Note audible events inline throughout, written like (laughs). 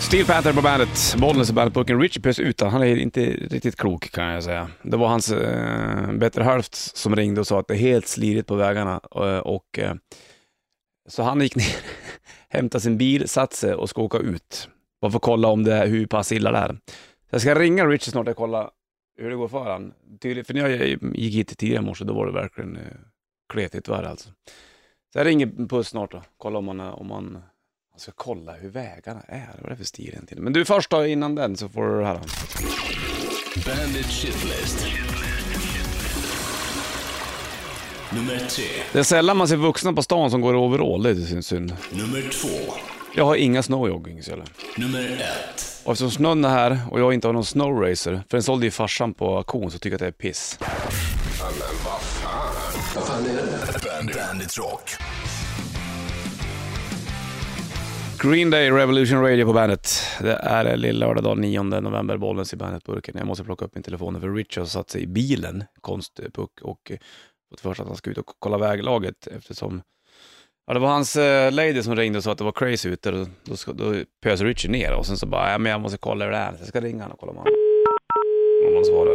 Steel Panther på bandet, Bollnäs på bandetburken. Richie Puss utan, han är inte riktigt klok kan jag säga. Det var hans eh, bättre hälft som ringde och sa att det är helt slirigt på vägarna. Eh, och, eh, så han gick (laughs) ner, hämtade sin bil, satte sig och ska åka ut. Bara för att kolla om det, hur pass illa det är. Jag ska ringa Richie snart och kolla hur det går för han. Tydligt, för när jag gick hit tidigare i morse, då var det verkligen eh, kletigt värre alltså. Så jag ringer Puss snart då, kolla om han, är- om han man ska kolla hur vägarna är. Vad är det för stil egentligen? Men du först då, innan den, så får du det här. då. Bandit Shitlist. Nummer tre. Det är sällan man ser vuxna på stan som går i overall, det är synd- synd. Nummer två. Jag har inga snowjoggings heller. Nummer ett. Och eftersom snön är här och jag inte har någon snowracer, för den sålde ju farsan på auktion, så tycker jag att det är piss. Bandit. Bandit Rock. Green Day Revolution Radio på bandet. Det är lilla dag 9 november, Bollnäs i bandetburken. Jag måste plocka upp min telefon för Richard har satt sig i bilen, konstpuck, och eh, fått för sig att han ska ut och kolla väglaget eftersom Ja, det var hans eh, lady som ringde och sa att det var crazy ute. Då, då, ska- då pöser Richie ner och sen så bara, ja men jag måste kolla hur det är. Så jag ska ringa honom och kolla om han, om han svarar.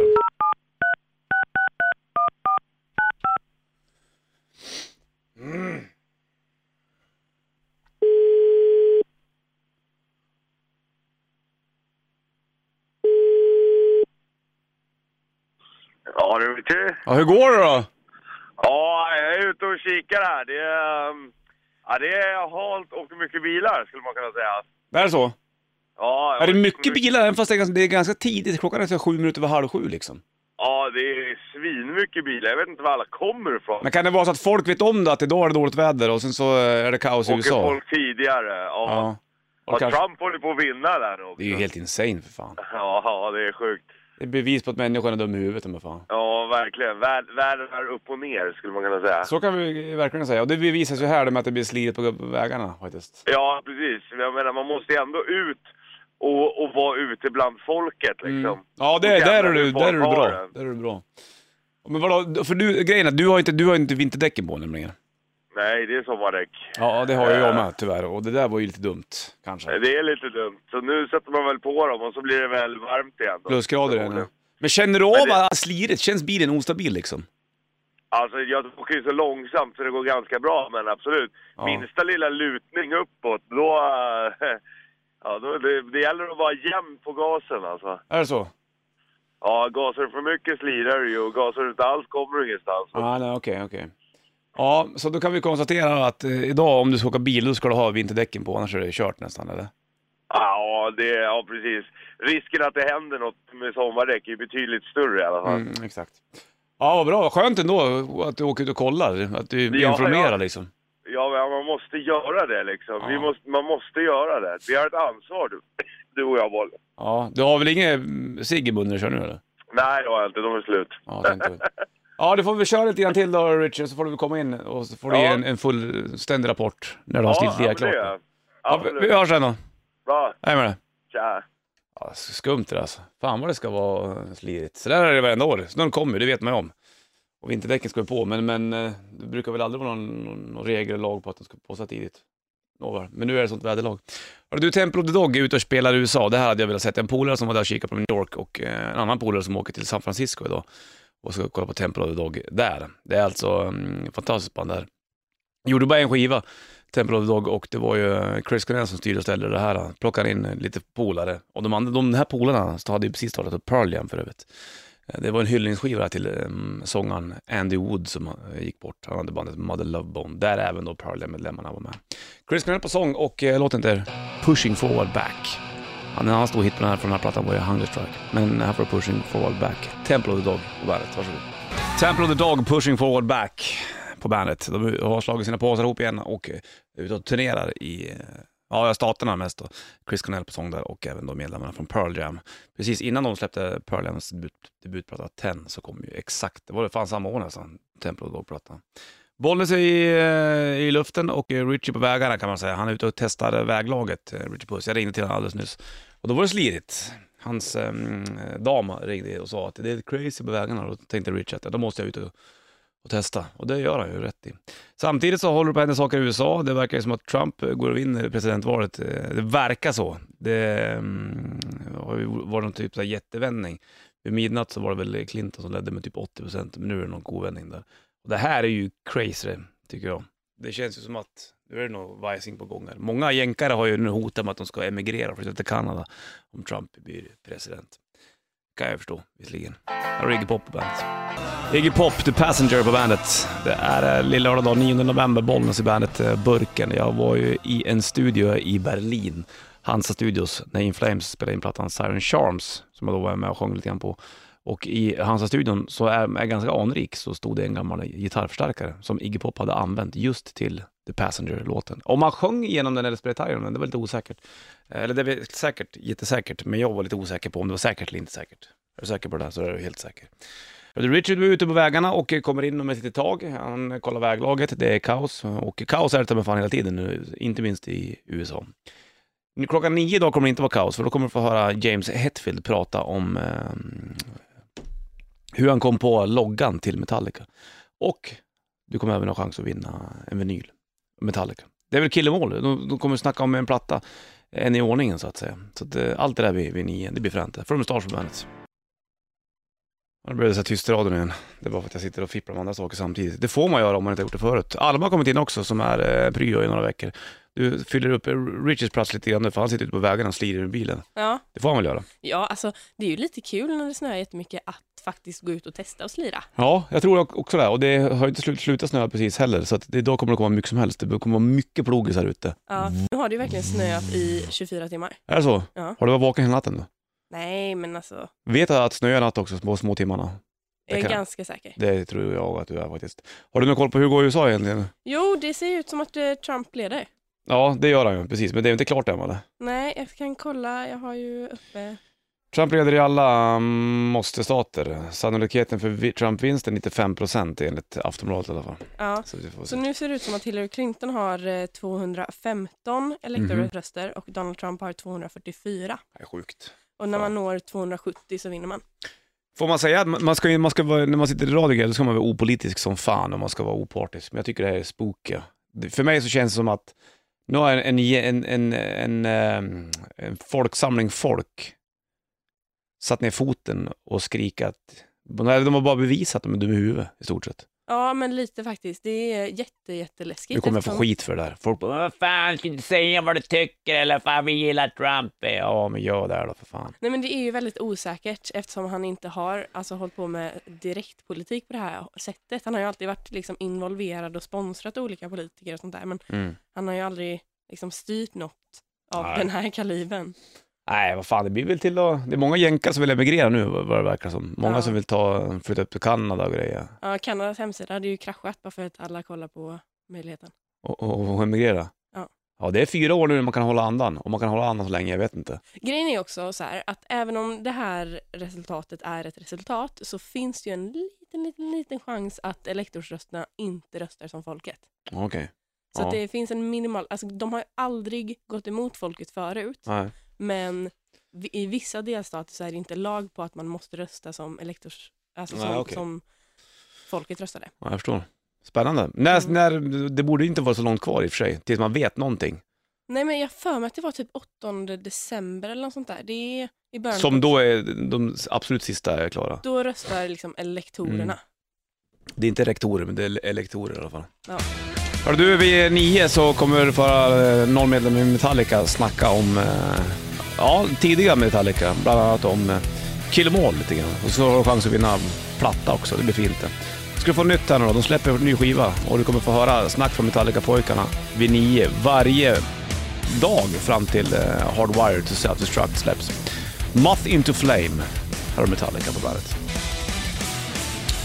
Ja, det är väl tur. Ja, hur går det då? Ja, jag är ute och kikar här. Det är, ehm, ja, det är halt och mycket bilar, skulle man kunna säga. Det är så? Ja, Är det mycket bilar? Även fast det är ganska, det är ganska tidigt. Klockan är så sju minuter över halv sju liksom. Ja, det är svinmycket bilar. Jag vet inte var alla kommer ifrån. Men kan det vara så att folk vet om det, att idag är det dåligt väder och sen så eh, är det kaos i Åker USA? folk tidigare. Ja. Ja. Ja, Och kanske, Trump håller på att vinna där nu också. det är ju helt insane för fan. Ja, ja, det är sjukt. Det är bevis på att människan är dum i huvudet men fan. Ja, verkligen. Vär- Världen är upp och ner, skulle man kunna säga. Så kan vi verkligen säga. Och det bevisas ju här det med att det blir slidigt på vägarna faktiskt. Ja, precis. Jag menar, man måste ju ändå ut och, och vara ute bland folket, liksom. Mm. Ja, det, Och jävlar där, är du, hur där är du folk har bra. det. Där är du bra. Men vadå, för du, grejen är, du har inte, du har inte vinterdäcken på nämligen. Nej, det är sommardäck. Ja, det har ju jag med tyvärr. Och det där var ju lite dumt kanske. Det är lite dumt. Så nu sätter man väl på dem och så blir det väl varmt igen. Då. Plusgrader är det. Men känner du av att slirigt? Känns bilen ostabil liksom? Alltså jag åker ju så långsamt så det går ganska bra, men absolut. Ja. Minsta lilla lutning uppåt, då... (laughs) eh, Ja, då det, det gäller att vara jämn på gasen alltså. Är det så? Ja, gasar du för mycket slirar du ju och gasar du inte alls kommer du ingenstans. Ja, nej, okej, okej. Ja, så då kan vi konstatera att eh, idag om du ska åka bil, då ska du ha vinterdäcken på, annars är det kört nästan, eller? Ja, det, ja precis. Risken att det händer något med sommardäck är ju betydligt större i alla fall. Mm, exakt. Ja, vad bra. Skönt ändå att du åker ut och kollar, att du Ja, informerar ja. liksom. Ja, men man måste göra det liksom. Vi Ja. måste, man måste göra det. Vi har ett ansvar, du, du och jag, Bolle. Ja, du har väl ingen cigg i munnen när du kör nu eller? Nej, det har jag inte. De är slut. Ja, tänkte (laughs) väl. Ja, du får väl köra lite grann till då Richard, så får du väl komma in och så får du Ja. ge en, en fullständig rapport när du har stillt det klart. det gör jag. Ja, vi- vi Absolut. hörs sen då. Bra. Hej med dig. Tja. Ja, skumt det där, alltså. Fan vad det ska vara slirigt. Så där är det varenda år. Snön kommer ju, det vet man ju om. Och vinterdäcken ska ju på, men, men eh, det brukar väl aldrig vara någon, någon, någon regel eller lag på att de ska på så tidigt. Nåväl, men nu är det sånt väderlag. Hörru du, Temple of the Dog är ute och spelar i USA. Det här hade jag velat sett. En polare som var där och kikade på New York och eh, en annan polare som åker till San Francisco idag och ska kolla på Temple of the Dog där. Det är alltså mm, fantastiskt band där. Gjorde bara en skiva, Temple of the Dog, och det var ju Chris Cornell som styrde och ställde det här. Plockade in lite polare. Och de, andra, de här polarna hade ju precis startat upp Pearl Jam för övrigt. Eh, Det var en hyllningsskiva till um, sångaren Andy Wood som eh, gick bort. Han hade bandet Mother Love Bone, där även då Pearl Jam-medlemmarna var med. Chris Cornell på sång och eh, låten heter Pushing Forward Back. Han har en annan stor hit på den här, från den här plattan var ju Hunger Strike. Men här får du Pushing Forward Back. Temple of the Dog på bandet, varsågod. Temple of the Dog, Pushing Forward Back på bandet. De har slagit sina påsar ihop igen och eh, är ute och turnerar i eh, ja, staterna mest då. Chris Cornell på sång där och även då medlemmarna från Pearl Jam. Precis innan de släppte Pearl Jams debut, debutplatta 10 så kom ju exakt, det var fan samma år nästan, Temple of the Dog-plattan. Bollnäs är i, eh, i luften och eh, Richie på vägarna kan man säga. Han är ute och testar eh, väglaget, eh, Richie Puss. Jag ringde till honom alldeles nyss och då var det slirigt. Hans ehm, eh, dam ringde och sa att det är crazy på vägarna. Då tänkte Richie att ja, då måste jag ut och och testa. Och det gör han ju rätt i. Samtidigt så håller det på att hända saker i USA. Det verkar ju som att Trump eh, går och vinner presidentvalet. Eh, Det verkar så. Det mm, har ju varit någon typ av jättevändning. Vid midnatt så var det väl Clinton som ledde med typ 80 procent, men nu är det någon kovändning där. Och det här är ju crazy, tycker jag. Det känns ju som att nu är det nog vajsing på gång här. Många jänkare har ju nu hotat med att de ska emigrera och flytta till Kanada om Trump blir president. Kan jag förstå, visserligen. Här har Iggy Pop på bandet. Iggy Pop, The Passenger på bandet. Det är eh, lilla lördag dag, 9 november, Bollnäs i bandet eh, Burken. Jag var ju i en studio i Berlin, Hansa Studios, när In Flames spelade in plattan Siren Charms, som jag då var med och sjöng lite grann på. Och i Hansa-studion, så är är jag ganska anrik, så stod det en gammal gitarrförstärkare som Iggy Pop hade använt just till The Passenger-låten. Om han sjöng igenom den eller spelade gitarr igenom den, det var lite osäkert. Eh, Eller det var säkert, jättesäkert, men jag var lite osäker på om det var säkert eller inte säkert. Är du säker på det där så är du helt säker. Richard var ute på vägarna och kommer in om ett litet tag. Han kollar väglaget, det är kaos. Och kaos är det ta mig fan hela tiden nu, inte minst i USA. Nu, Klockan nio idag kommer det inte vara kaos, för då kommer du få höra James Hetfield prata om eh, hur han kom på loggan till Metallica. Och du kommer även ha chans att vinna en vinyl, Metallica. Det är väl killemål, de, de kommer snacka om en platta, en i ordningen så att säga. Så att, eh, allt det där vid, vid nio, det blir fränt. From Stars på bandet. Ja, Nu blev det så här tyst i radion igen. Det var för att jag sitter och fipplar med andra saker samtidigt. Det får man göra om man inte har gjort det förut. Alma har kommit in också som är eh, pryo i några veckor. Du fyller upp eh, Richies plats lite grann nu för han sitter ute på vägarna och slirar med bilen. Ja. Det får han väl göra? ja, alltså det är ju lite kul när det snöar jättemycket att faktiskt gå ut och testa och slira. Ja, jag tror också det. Och det har ju inte slut, slutat snöa precis heller så att det, idag kommer det komma mycket som helst. Det kommer vara mycket plogis här ute. Ja. Nu har det ju verkligen snöat i 24 timmar. Är det så? Ja. Har du varit vaken hela natten då? Nej, men alltså, Vet jag att snö är natt också, små, små timmarna? Det jag är kan- ganska säker. Det tror jag att du är faktiskt. Har du någon koll på hur det går i USA egentligen? Jo, det ser ju ut som att eh, Trump leder. Ja, det gör han ju, precis. Men det är inte klart än, eller? Nej, jag kan kolla, jag har ju uppe... Trump leder i alla mm, måste-stater. Sannolikheten för vi- Trump-vinsten är 95% enligt Aftonbladet i alla fall. Ja. Så vi får Så se. nu ser det ut som att Hillary Clinton har eh, 215 Mhm. elektorröster och Donald Trump har 244. Det är sjukt. Och när Fan. man når 270 så vinner man. Får man säga att man man ska, ju- man ska vara, när man sitter i radio då ska man vara opolitisk som fan och man ska vara opartisk. Men jag tycker det här är spooky. Det- För mig så känns det som att nu har en, en, en, en, en, ehm, en folksamling folk satt ner foten och skrikat. Nej, De har bara bevisat att de är dumma i huvudet i stort sett. Ja, men lite faktiskt. Det är jätte, jätteläskigt. Nu kommer jag få eftersom- skit för det där. Folk bara, vad fan, ska inte säga vad du tycker eller fan, vi gillar Trump. Ja, men gör det här då för fan. Nej men det är ju väldigt osäkert eftersom han inte har alltså, hållit på med direktpolitik på det här sättet. Han har ju alltid varit liksom, involverad och sponsrat olika politiker och sånt där men Mm. han har ju aldrig liksom, styrt något av Nej. den här kalibern. Nej, vad fan, det blir väl till att... Det är många jänkar som vill emigrera nu, vad vad det verkar som. Många Ja. som vill ta, flytta upp till Kanada och grejer. Ja, Kanadas hemsida hade ju kraschat bara för att alla kollar på möjligheten. Och, och, och emigrera. Ja. ja, det är fyra år nu när man kan hålla andan. Om man kan hålla andan så länge, jag vet inte. Grejen är också så här att även om det här resultatet är ett resultat så finns det ju en liten, liten, liten chans att elektorsrösterna inte röstar som folket. Okej. Så att Ja. det finns en minimal, alltså de har ju aldrig gått emot folket förut, Nej. men vi- i vissa delstater så är det inte lag på att man måste rösta som elektors, alltså Nej, som, okej. som folket röstade. Ja, jag förstår. Spännande. När, Mm. när, det borde ju inte vara så långt kvar i och för sig, tills man vet någonting. Nej men jag för mig att det var typ 8 december eller något sånt där. Det är i början på- Som då är de absolut sista är klara. då röstar liksom Mm. elektorerna. Det är inte rektorer, men det är elektorer i alla fall. Ja. Hör du, vid nio så kommer förra nollmedlemmen i Metallica snacka om eh, ja, tidiga Metallica, bland annat om eh, Kill 'em All lite grann. Och så har du chans att vinna platta också, det blir fint det. Ska du få nytt här nu då, de släpper en ny skiva och du kommer få höra snack från Metallica-pojkarna vid nio varje dag fram till eh, Hardwired to Self-Destruct släpps. Moth Into Flame, här har Metallica på bandet.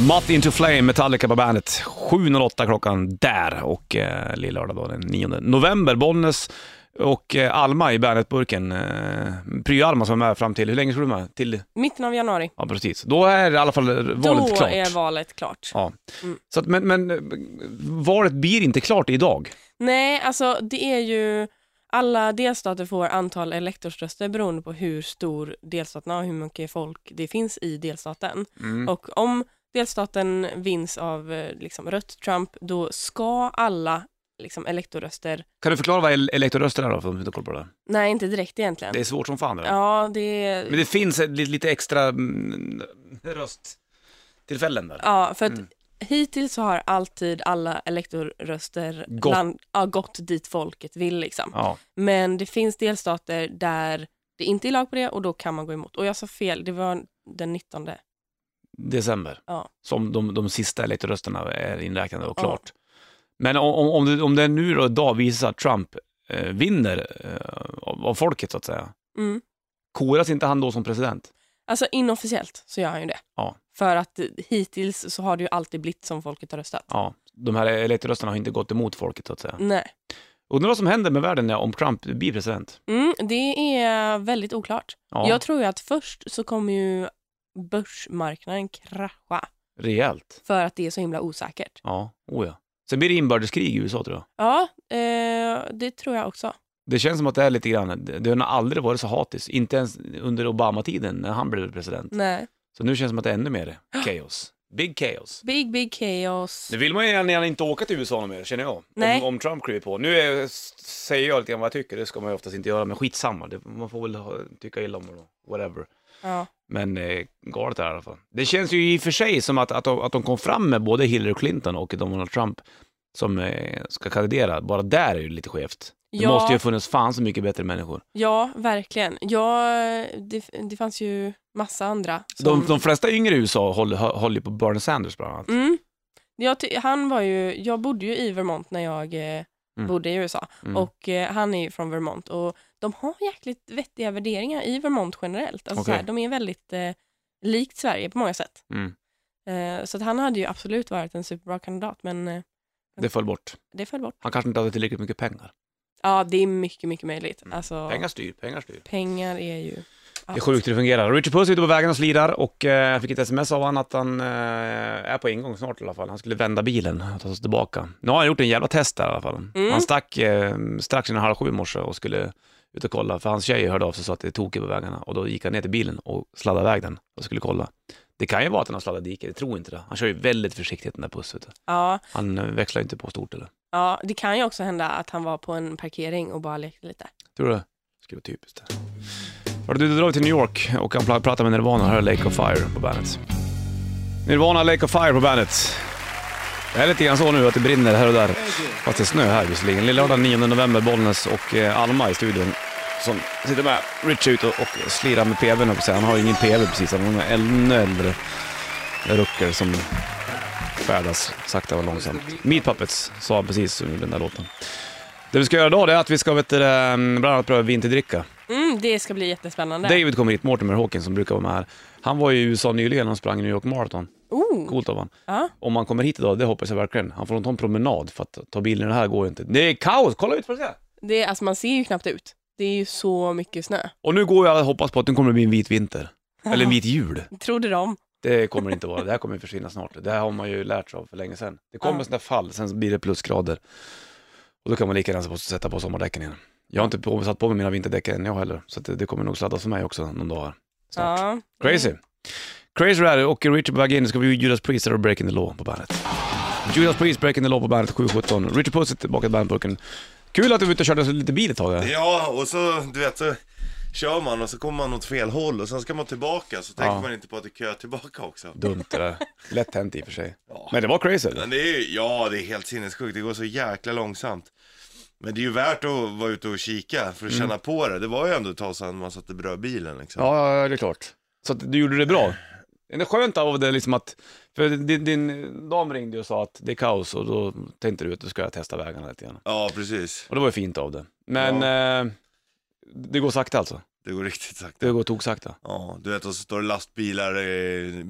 Moth Into Flame, Metallica på bandet. 7.08 klockan där och eh, lilla lördag då, den 9 november. Bollnäs och eh, Alma i bandetburken. Eh, Pryo-Alma som är med fram till, hur länge ska du vara med? Till, Mitten av januari, ja precis. Då är i alla fall valet då klart. är valet klart. Ja. Mm. Så att, men, men eh, valet blir inte klart idag. Nej, alltså det är ju alla delstater får antal elektorsröster beroende Mm. på hur stor delstaten är och hur mycket folk det finns i delstaten. Och om delstaten vinns av eh, liksom, rött Trump, då ska alla liksom, elektorröster, Kan du förklara vad el- elektorröster är då, för de som inte har koll på det? där? nej inte direkt egentligen. Det är svårt som fan det där. Ja, det är... Men det finns ett, lite, lite extra mm, rösttillfällen där. Ja, för att Mm. hittills så har alltid alla elektorröster Gått. land, ja, gått dit folket vill. Liksom. Ja. Men det finns delstater där det inte är lag på det och då kan man gå emot. Och jag sa fel, det var den 19. December. Ja. Som de, de sista elektorrösterna är inräknade och Ja. klart. Men om, om- om, det, om det nu då idag visar sig att Trump eh, vinner eh, av, av folket så att säga, Mm. koras inte han då som president? Alltså inofficiellt så gör han ju det. Ja. För att hittills så har det ju alltid blivit som folket har röstat. Ja, de här elektorrösterna har inte gått emot folket så att säga. Nej. Undrar vad som händer med världen när- om Trump blir president? Mm, det är väldigt oklart. Ja, Jag tror ju att först så kommer ju börsmarknaden krascha rejält. för att det är så himla osäkert. Ja, oh ja. Sen blir det inbördeskrig i USA tror jag. Ja, eh, det tror jag också. Det känns som att det är lite grann, det har aldrig varit så hatiskt, inte ens under Obama-tiden när han blev president. Nej. Så nu känns det som att det är ännu mer chaos. Big chaos. Big, big chaos. Nu vill man ju gärna inte åka till USA någon mer, känner jag. Nej. Om, om Trump kliver på. Nu är, s- säger jag lite grann vad jag tycker, det ska man ju oftast inte göra, men skitsamma. Det, man får väl ha, tycka illa om det då, whatever. Ja. Men eh, galet är det i alla fall. Det känns ju i och för sig som att, att, de, att de kom fram med både Hillary Clinton och Donald Trump som eh, ska kandidera. Bara där är ju lite skevt. Det Ja. måste ju ha funnits fan så mycket bättre människor. ja, verkligen. Ja, det, det fanns ju massa andra. som- De, de flesta yngre i USA håller, hå- håller ju på Bernie Sanders bland annat. Mm. Jag, ty- han var ju, jag bodde ju i Vermont när jag eh, bodde i USA Mm. och eh, han är ju från Vermont och de har jäkligt vettiga värderingar i Vermont generellt. Alltså, Okej. så här, de är väldigt eh, likt Sverige på många sätt. Mm. Eh, så att han hade ju absolut varit en superbra kandidat men eh, Det föll bort. det föll bort. Han kanske inte hade tillräckligt mycket pengar. Ja, det är mycket, mycket möjligt. Alltså, Mm. Pengar styr, pengar styr. Pengar är ju Det är sjukt hur det fungerar. Richard Puss är ute på vägen och slirar och eh, jag fick ett sms av honom att han eh, är på ingång snart i alla fall. Han skulle vända bilen och ta sig tillbaka. Nu har han gjort en jävla test där i alla fall. Mm. Han stack eh, strax innan halv sju i morse och skulle ut och kolla, för hans tjej hörde av sig så att det är tokigt på vägarna och då gick han ner till bilen och sladdade iväg den och skulle kolla. Det kan ju vara att han har sladdat diket, jag tror inte det. Han kör ju väldigt försiktigt den där Puss, vet du. Ja, Han eh, växlar ju inte på stort eller? ja, det kan ju också hända att han var på en parkering och bara lekte lite. Tror du det? Skulle vara typiskt. Hörru du, då drar vi till New York och kan pla- prata med Nirvana. Här är Lake of Fire på bandet. Nirvana, Lake of Fire på bandet. Det är lite grann så nu att det brinner här och där. Fast det är snö här visserligen. Lillördag 9 november, Bollnäs och eh, Alma i studion. Som sitter med Rich ut och, och slirar med PVn höll jag på att säga. Han har ju ingen PV precis, han har en ännu äldre rucker som färdas sakta och långsamt. Meat Puppets sa han precis under den där låten. Det vi ska göra idag det är att vi ska vet du, eh, bland annat pröva vinterdricka. Mm, det ska bli jättespännande. David kommer hit, Mortimer Hawkins som brukar vara med här. Han var ju i USA nyligen och sprang New York Marathon. Oh, Coolt av han. ja. Om han kommer hit idag, det hoppas jag verkligen. Han får nog ta en promenad för att ta bilen, det här går ju inte. Det är kaos, kolla ut för att se! det, är- alltså man ser ju knappt ut. Det är ju så mycket snö. Och nu går jag och hoppas på att nu kommer det bli en vit vinter. Eller en vit jul. Trodde de. Det kommer det inte vara. Det här kommer försvinna snart. Det här har man ju lärt sig av för länge sedan. Det kommer Ja. ja. sådana fall, sen så blir det plusgrader. Och då kan man lika gärna på- sätta på sommardäcken igen. Jag har inte på, satt på mig mina vinterdäck än jag heller, så att det, det kommer nog sladdas för mig också någon dag här. snart. Ja. Mm. Crazy. Crazy Rally och Richard på väg in. Nu ska vi ju Judas Priest och Breaking the Law på bandet. Judas Priest, Breaking the Law på bandet 717. Richard Puss är tillbaka till bandburken. Kul att du var ute och körde lite bil ett tag. här. Ja, och så du vet så kör man och så kommer man åt fel håll och sen ska man tillbaka så tänker Ja. man inte på att det är kö tillbaka också. Dumt det där. Lätt hänt i och för sig. Men det var crazy. Men det är ju, ja det är helt sinnessjukt, det går så jäkla långsamt. Men det är ju värt att vara ute och kika för att känna på det. Det var ju ändå ett tag sedan man satte brödbilen liksom. Mm. Ja, ja, det är klart. Så att du gjorde det bra. Det är skönt av det liksom att, för din, din dam ringde och sa att det är kaos och då tänkte du att du ska testa vägarna lite grann. Ja, precis. Och det var ju fint av det. Men eh, det går sakta alltså. Det går riktigt sakta. Det går toksakta. Ja, du vet och så står det lastbilar eh,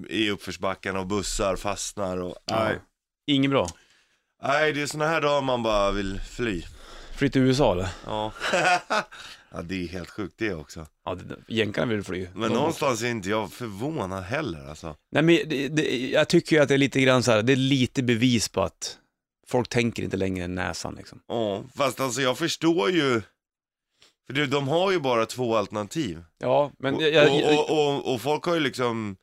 i uppförsbackarna och bussar fastnar och nej. Inget bra. Nej, det är såna här dagar man bara vill fly. Flytt till USA eller? Ja. (laughs) ja, det är helt sjukt det också. Ja, det- jänkarna vill fly. Men någonstans är inte jag förvånad heller alltså. Nej, men det, det, jag tycker ju att det är lite grann så här, det är lite bevis på att folk tänker inte längre än näsan liksom. Ja, fast alltså jag förstår ju. För du, de har ju bara två alternativ. Ja, men Och, jag, jag, och, och, och, och folk har ju liksom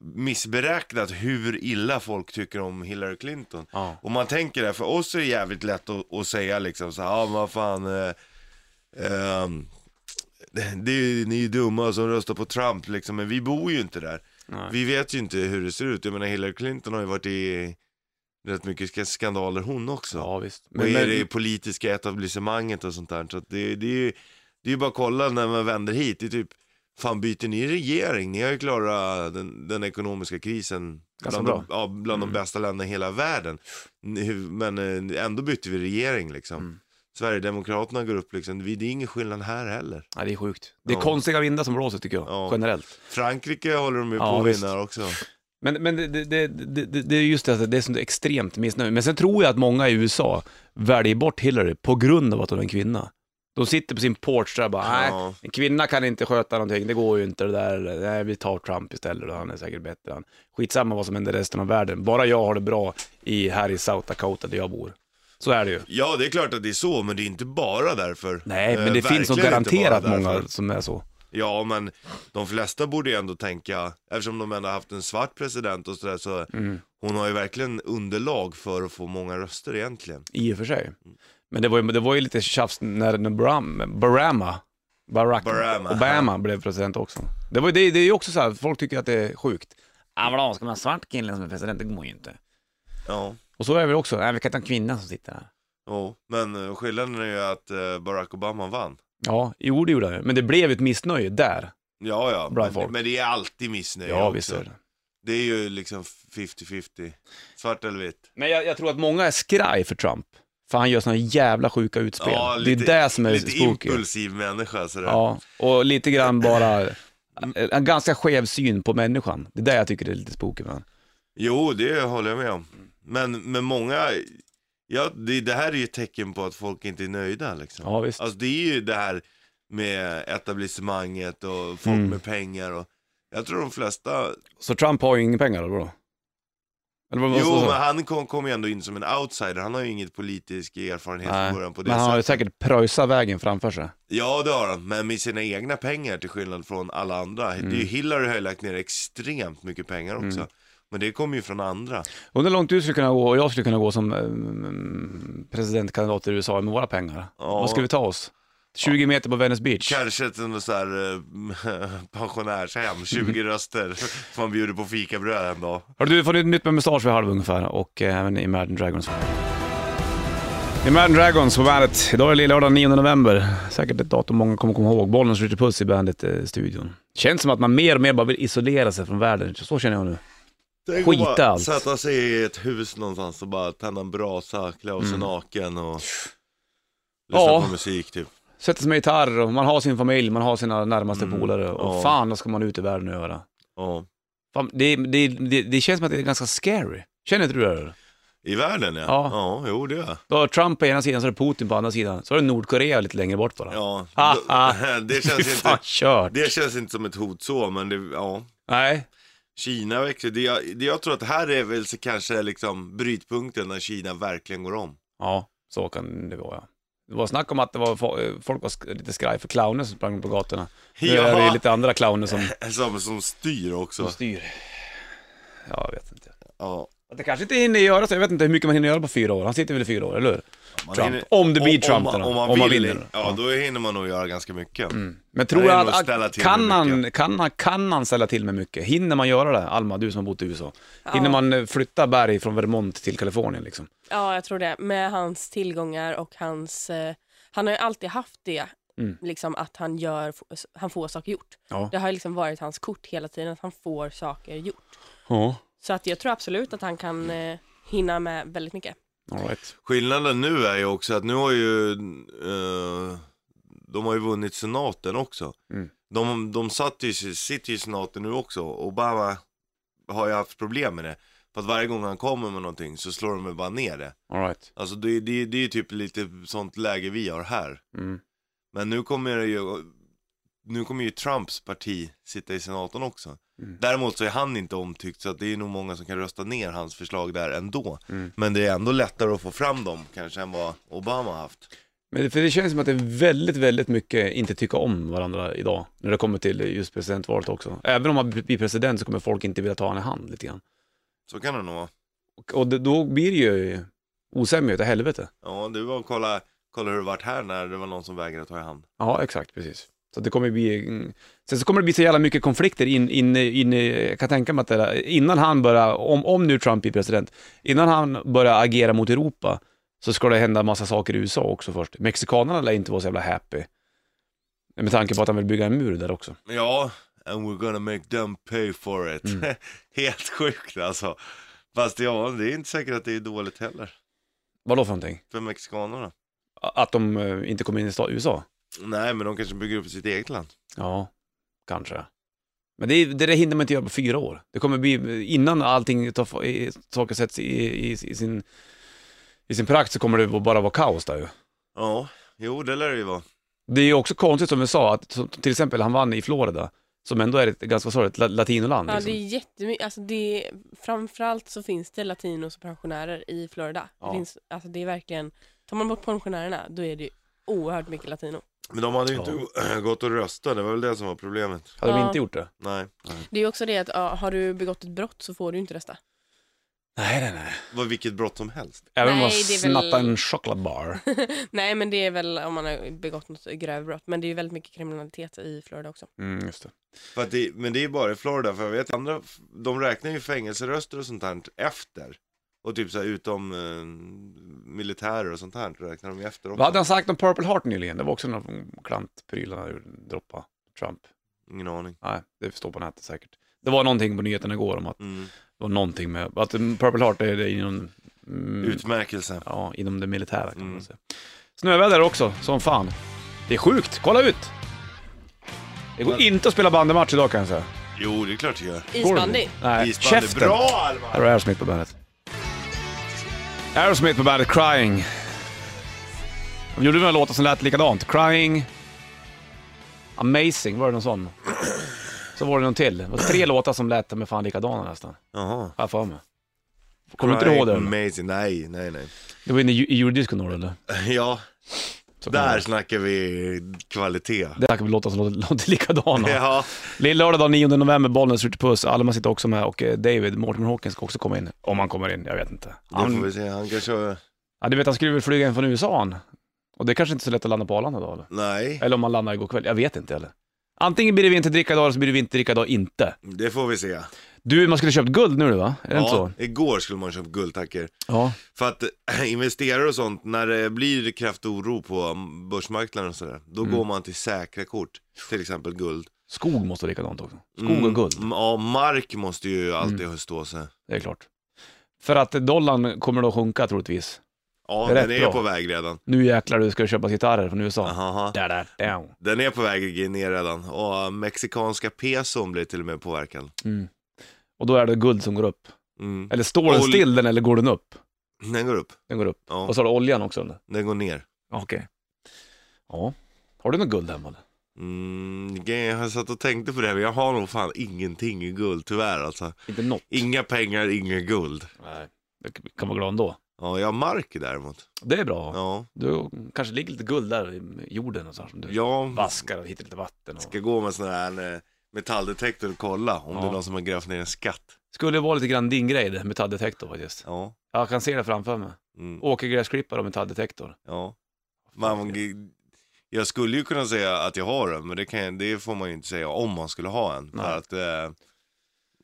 missberäknat hur illa folk tycker om Hillary Clinton. Ja. Och man tänker det, här, för oss är det jävligt lätt att, att säga liksom så här, ja ah, vad fan, eh, ehm, det är, ju- ni är ju dumma som röstar på Trump liksom, men vi bor ju inte där. Nej. Vi vet ju inte hur det ser ut, jag menar Hillary Clinton har ju varit i rätt mycket ska- skandaler hon också. Ja, visst. och Men, är men, det politiska etablissemanget och sånt där. Så att det, det är ju det är ju bara att kolla när man vänder hit, det är typ, fan byter ni regering? Ni har ju klarat den, den ekonomiska krisen Ganska Mm. bland, De, ja, bland de bästa länderna i hela världen. Nu- Men eh, ändå bytte vi regering liksom. Mm. Sverigedemokraterna går upp liksom, Vi- det är ingen skillnad här heller. nej, det är sjukt. Det är Ja. konstiga vindar som blåser tycker jag, Ja. generellt. Frankrike håller de ju på Ja, att visst. vinna också. Men, men det, det, det, det, det är just det, alltså, det är sånt extremt missnöje. Men sen tror jag att många i USA väljer bort Hillary på grund av att hon är en kvinna. De sitter på sin porch där och bara, nej, Ja. en kvinna kan inte sköta någonting, det går ju inte det där, eller, nej vi tar Trump istället, han är säkert bättre. Han. Skitsamma vad som händer i resten av världen, bara jag har det bra i, här i South Dakota där jag bor. Så är det ju. Ja, det är klart att det är så, men det är inte bara därför. Nej, men Eh, det finns nog verkligen inte bara garanterat därför. många som är så. Ja, men de flesta borde ju ändå tänka, eftersom de ändå haft en svart president och sådär, så Mm. hon har ju verkligen underlag för att få många röster egentligen. I och för sig. Men det var ju, det var ju lite tjafs när när Bram, Barama, Barack Barama, Obama blev president också. Det, var, ju- det, det är ju också så här, folk tycker att det är sjukt. Ja vadå, ska man ha svart kille som är president? Det går ju inte. Ja. Och så är det väl också, nej vi kan ta en kvinna som sitter här. Jo, men eh, skillnaden är ju att eh, Barack Obama vann. Ja, jo det gjorde han ju. Men det blev ju ett missnöje där. Ja, ja, Bra men, folk. men det är alltid missnöje Ja, också. visst är det. Det är ju liksom 50-50, svart eller vitt. Men jag, jag tror att många är skraj för Trump. För han gör såna jävla sjuka utspel. Ja, det är det som är Lite spooky. impulsiv människa sådär. Ja, och lite grann bara, en ganska skev syn på människan. Det är där jag tycker det är lite spooky med honom. Jo, det håller jag med om. Men, men många, ja, det, det här är ju ett tecken på att folk inte är nöjda liksom. Ja, visst. Alltså det är ju det här med etablissemanget och folk Mm. med pengar och jag tror de flesta, Så Trump har ju inga pengar eller vadå? Eller vad, vad- jo vad- men han kom, kom ju ändå in som en outsider, han har ju inget politisk erfarenhet Nej. från början på det Men han har ju sättet. säkert pröjsat vägen framför sig. Ja det har han, men med sina egna pengar till skillnad från alla andra. Det är ju Mm. Hillary har ju lagt ner extremt mycket pengar också. Men det kommer ju från andra. Undrar hur långt du skulle kunna gå och jag skulle kunna gå som ehm, presidentkandidat i USA med våra pengar. Ja. Vad skulle vi ta oss? 20 meter på Venice Beach? Kanske ett sånt där eh, (laughs) (laughs) pensionärshem, 20 röster. Man bjuder på fikabröd en dag. Har du fått nytt med mustasch vid halv ungefär och eh, även Imagine Dragons. Imagine Dragons på bandet. Idag är det lördag 9 november. Säkert ett datum många kommer komma ihåg. Bollnäs Ritchie Puss i bandet-studion. Känns som att man mer och mer bara vill isolera sig från världen. Så känner jag nu. Tänk Skita att bara allt. Sätta sig i ett hus någonstans och bara tända en brasa, klä av sig naken och lyssna Mm. Ja. på musik typ. Sätter sig med gitarr och man har sin familj, man har sina närmaste polare och Mm. ja. fan vad ska man ut i världen och göra? Ja. Fan, det, det, det, det känns som att det är ganska scary. Känner inte du det? eller? I världen ja. Ja. ja jo det gör jag. Då har Trump på ena sidan, så är det Putin på andra sidan. Så är det Nordkorea lite längre bort bara. Ja. Ha, ha. (laughs) (laughs) det, känns fan inte, kört. det känns inte som ett hot så, men det, ja. Nej, Kina växer, det jag, det jag tror att det här är väl så kanske liksom brytpunkten när Kina verkligen går om. ja, så kan det vara ja. Det var snack om att det var, fo- folk var sk- lite skraj för clowner som sprang på gatorna. Nu är det Ja. lite andra clowner som, Som, (laughs) som styr som också. styr. Ja, jag vet inte. Ja. Att Det kanske inte hinner göra så, jag vet inte hur mycket man hinner göra på fyra år. Han sitter väl i fyra år, eller hur? Man Trump. hinner- Om det blir Trump om, då, om, man om man vill, vinner Mm. då. Ja, då hinner man nog göra ganska mycket. Men tror Det är jag nog att, ställa till kan, med han, kan, han, kan han ställa till med mycket? Hinner man göra det? Alma, du som har bott i USA. Hinner man eh, flytta berg från Vermont till Kalifornien liksom? Ja, jag tror det. Med hans tillgångar och hans... Eh, han har ju alltid haft det, Mm. liksom att han, gör, han får saker gjort. Ja. Det har ju liksom varit hans kort hela tiden, att han får saker gjort. Ja. Så att jag tror absolut att han kan eh, hinna med väldigt mycket. All right. Skillnaden nu är ju också att nu har ju eh, de har ju vunnit senaten också. Mm. De, de satt ju, sitter ju i senaten nu också. Obama har ju haft problem med det. För att varje gång han kommer med någonting så slår de ju bara ner det. All right. Alltså det, det, det är ju typ lite sånt läge vi har här. Mm. Men nu kommer det ju, nu kommer ju Trumps parti sitta i senaten också. Däremot så är han inte omtyckt så att det är nog många som kan rösta ner hans förslag där ändå. Men det är ändå lättare att få fram dem kanske än vad Obama haft. Men det, för det känns som att det är väldigt, väldigt mycket inte tycka om varandra idag. När det kommer till just presidentvalet också. Även om man blir president så kommer folk inte vilja ta en i hand lite grann. Så kan det nog vara. Och, och det, då blir det ju osämja utav helvete. Ja, du var och kolla, kolla hur det varit här när det var någon som vägrade ta i hand. Ja, exakt, precis. Så det kommer bli, mm. sen så kommer det bli så jävla mycket konflikter in, in, in, jag kan tänka mig att det där, innan han börjar, om, om nu Trump blir president, innan han börjar agera mot Europa så ska det hända massa saker i USA också först. Mexikanerna lär inte vara så jävla happy. Med tanke på att han vill bygga en mur där också. Ja, and we're gonna make them pay for it. (laughs) Helt sjukt alltså. Fast ja, det är inte säkert att det är dåligt heller. Vadå för någonting? För mexikanerna. A- Att de eh, inte kommer in i sta- USA? Nej, men de kanske bygger upp sitt eget land. Ja, kanske. Men det, är- det där hinner man inte göra på fyra år. Det kommer bli, innan allting tar, fa- i- saker sätts i, i, i sin, i sin prakt så kommer det bara vara kaos där ju. Ja, jo det lär det ju vara. Det är ju också konstigt som du sa, att som- till exempel han vann i Florida, som ändå är ett ganska sorgligt la- latinoland. Ja, det liksom. är jättemycket. Alltså det, framförallt så finns det latinos och pensionärer i Florida. Ja. Det, finns, alltså det är verkligen, tar man bort pensionärerna då är det oerhört mycket latino. Men de hade ju inte (clears throat) gått och rösta, det var väl det som var problemet. Hade de Ja. inte gjort det? Nej. Det är ju också det att ja, har du begått ett brott så får du inte rösta. Nej, nej, nej. Det var vilket brott som helst. Även om man Nej, det är väl- snattar en (laughs) chokladbar. Nej men det är väl om man har begått något grövre brott. Men det är ju väldigt mycket kriminalitet i Florida också. Mm, just det. För att det, men det är bara i Florida, för jag vet andra, de räknar ju fängelseröster och sånt här efter. Och typ så här, utom eh, militärer och sånt här räknar de ju efter också. Vad hade han sagt om Purple Heart nyligen? Det var också någon klantpryl han hade droppat. Trump. Ingen aning. Nej, det står på nätet säkert. Det var någonting på nyheterna igår om att Mm. Det var någonting med, att Purple Heart är det inom, mm, Utmärkelse. ja, inom det militära kan Mm. man säga. Snöväder också, som fan. Det är sjukt, kolla ut! Det går inte att spela bandymatch idag kan jag säga. Jo, det är klart det gör. Går det? Isbandy. Nej, Isbandy. käften! Bra Alma! Här har Aerosmith på bandet. Aerosmith på bandet, Crying. De gjorde några låtar som lät likadant. Crying, Amazing, var det någon sån? Så var det någon till. Det var tre låtar som lät med fan likadana nästan. Jaha. Har jag för mig. Kommer du inte ihåg det? eller? Amazing. Nej, nej, nej. (laughs) Det var inne i eurodiscon då eller? Ja, Så kan där det- snackar vi kvalitet. Det här kan väl låta som låter, låter likadana. (laughs) Ja, Lill-lördag den 9 november, Bollnäs skjuter puss. Alma sitter också med och eh, David, Mortimer Hawkins ska också komma in. Om han kommer in, jag vet inte. det får Han, vi se. Han kanske... ja, du vet han skulle väl flyga in från USA han. Och det är kanske inte så lätt att landa på Arlanda då eller? Nej, Eller om han landar igår kväll, jag vet inte eller. Antingen blir det vinterdricka idag eller så blir det vinterdricka idag inte. det får vi se. Du, man skulle köpt guld nu va? Är det inte Ja, så? igår skulle man köpa guldtacker. Ja. För att eh, investerare och sånt, när det blir kraftoro på mm, börsmarknaden och sådär, då Mm. går man till säkra kort, till exempel guld. Skog måste vara likadant också. Skog och guld, Mm. Mm, ja, mark måste ju alltid stå sig. det är klart. För att dollarn kommer då sjunka troligtvis. Ja, Det är den rätt är bra. på väg redan. Nu jäklar du ska köpa gitarrer från USA. Aha. Da, da, down. Den är på väg ner redan. Och eh, mexikanska peson blir till och med påverkad. Och då är det guld som går upp. Mm. Eller står den Ol- still den eller går den upp? Den går upp. Den går upp. Ja, Och så har du oljan också. eller? den går ner. Okej. Ja. Har du något guld hemma eller? Mm, jag har satt och tänkte på det, här, men jag har nog fan ingenting i guld tyvärr alltså. Inte något? Inga pengar, inga guld. Nej. Du k- kan vara glad ändå. Ja, jag har mark däremot. Det är bra. Ja, Du kanske ligger lite guld där i jorden och så här som du jag vaskar och hittar lite vatten. Och... ska gå med sån här eh, metalldetektor och kolla om Ja. det är någon som har grävt ner en skatt. Skulle vara lite grann din grej det, metalldetektor faktiskt. Ja, Jag kan se det framför mig. mm, Åker gräsklippare och metalldetektor. ja. Man, jag skulle ju kunna säga att jag har en, men det, kan, jag- det får man ju inte säga om man skulle ha en. Nej. För att, eh,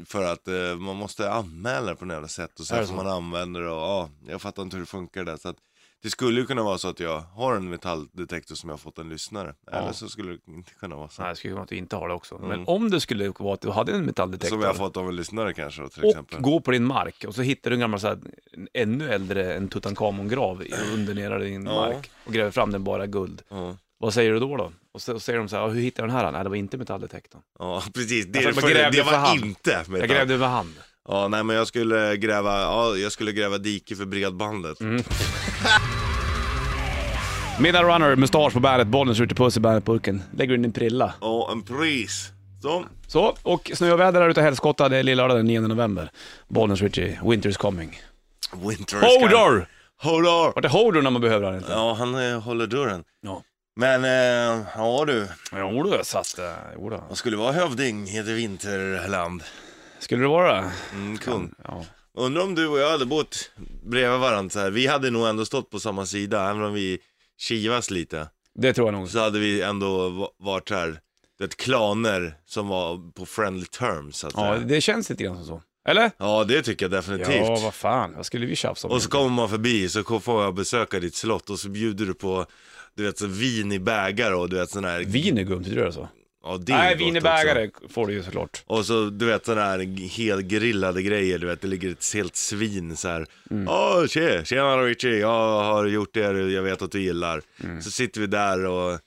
för att eh, man måste anmäla det på något jävla sätt och Är sen det får så? man använda det och ja, jag fattar inte hur det funkar där. Så att, det skulle ju kunna vara så att jag har en metalldetektor som jag har fått en lyssnare. Eller så skulle det inte kunna vara så. Nej, det skulle kunna att du inte har det också. Men Mm. om det skulle vara att du hade en metalldetektor. som jag har fått av en lyssnare kanske då, till exempel. Och gå på din mark och så hittar du en gammal så här, en ännu äldre än Tutankhamon-grav i- under nere i din Ja. mark och gräver fram den bara guld. Ja, Vad säger du då? då? Och så och säger de så här, "Ja, hur hittade du den här? Nej, det var inte metalldetektorn. ja (laughs) precis. Jag bara Det, det, det, Alltså, grävde det för var hand. inte metall. Jag grävde med hand. Ja, nej men jag skulle gräva, ja, jag skulle gräva dike för bredbandet. Mm. Midnight Runner, mustasch på bandet, bollen skjuter puss i bandetburken. Lägger in din prilla. Ja, en pris. Så. Så, och snöväder är ute och helskotta. Det är lillördag den 9 november. Bollen skjuter, winter is coming. Winter is Hodor! Hurra! Vart är Hodor när man behöver han inte? Ja, han eh, håller dörren. Ja. Men, eh, ja du, Jo då, så att, eh, jo då. vad skulle vara hövding i ett vinterland? Skulle det vara det? Mm, kung. Ja. Undrar om du och jag hade bott bredvid varandra så här. Vi hade nog ändå stått på samma sida, även om vi kivas lite. Det tror jag nog. Så hade vi ändå va- varit så här, det klaner som var på friendly terms så att Ja, säga. det känns lite grann som så. Eller? Ja, det tycker jag definitivt. Ja, vad fan. Vad skulle vi tjafsa om? Och så kommer man förbi så ko- får jag besöka ditt slott och så bjuder du på du vet så vin i bägare och du vet sån här... Vin är gumt, tror du det är så? Ja, det är Nej, gott också. wienerbägare får du ju såklart. Och så du vet sådana här helgrillade grejer, du vet det ligger ett helt svin så här. Mm. Åh, tje, tjena Richie, jag har gjort det här, jag vet att du gillar. Mm. Så sitter vi där och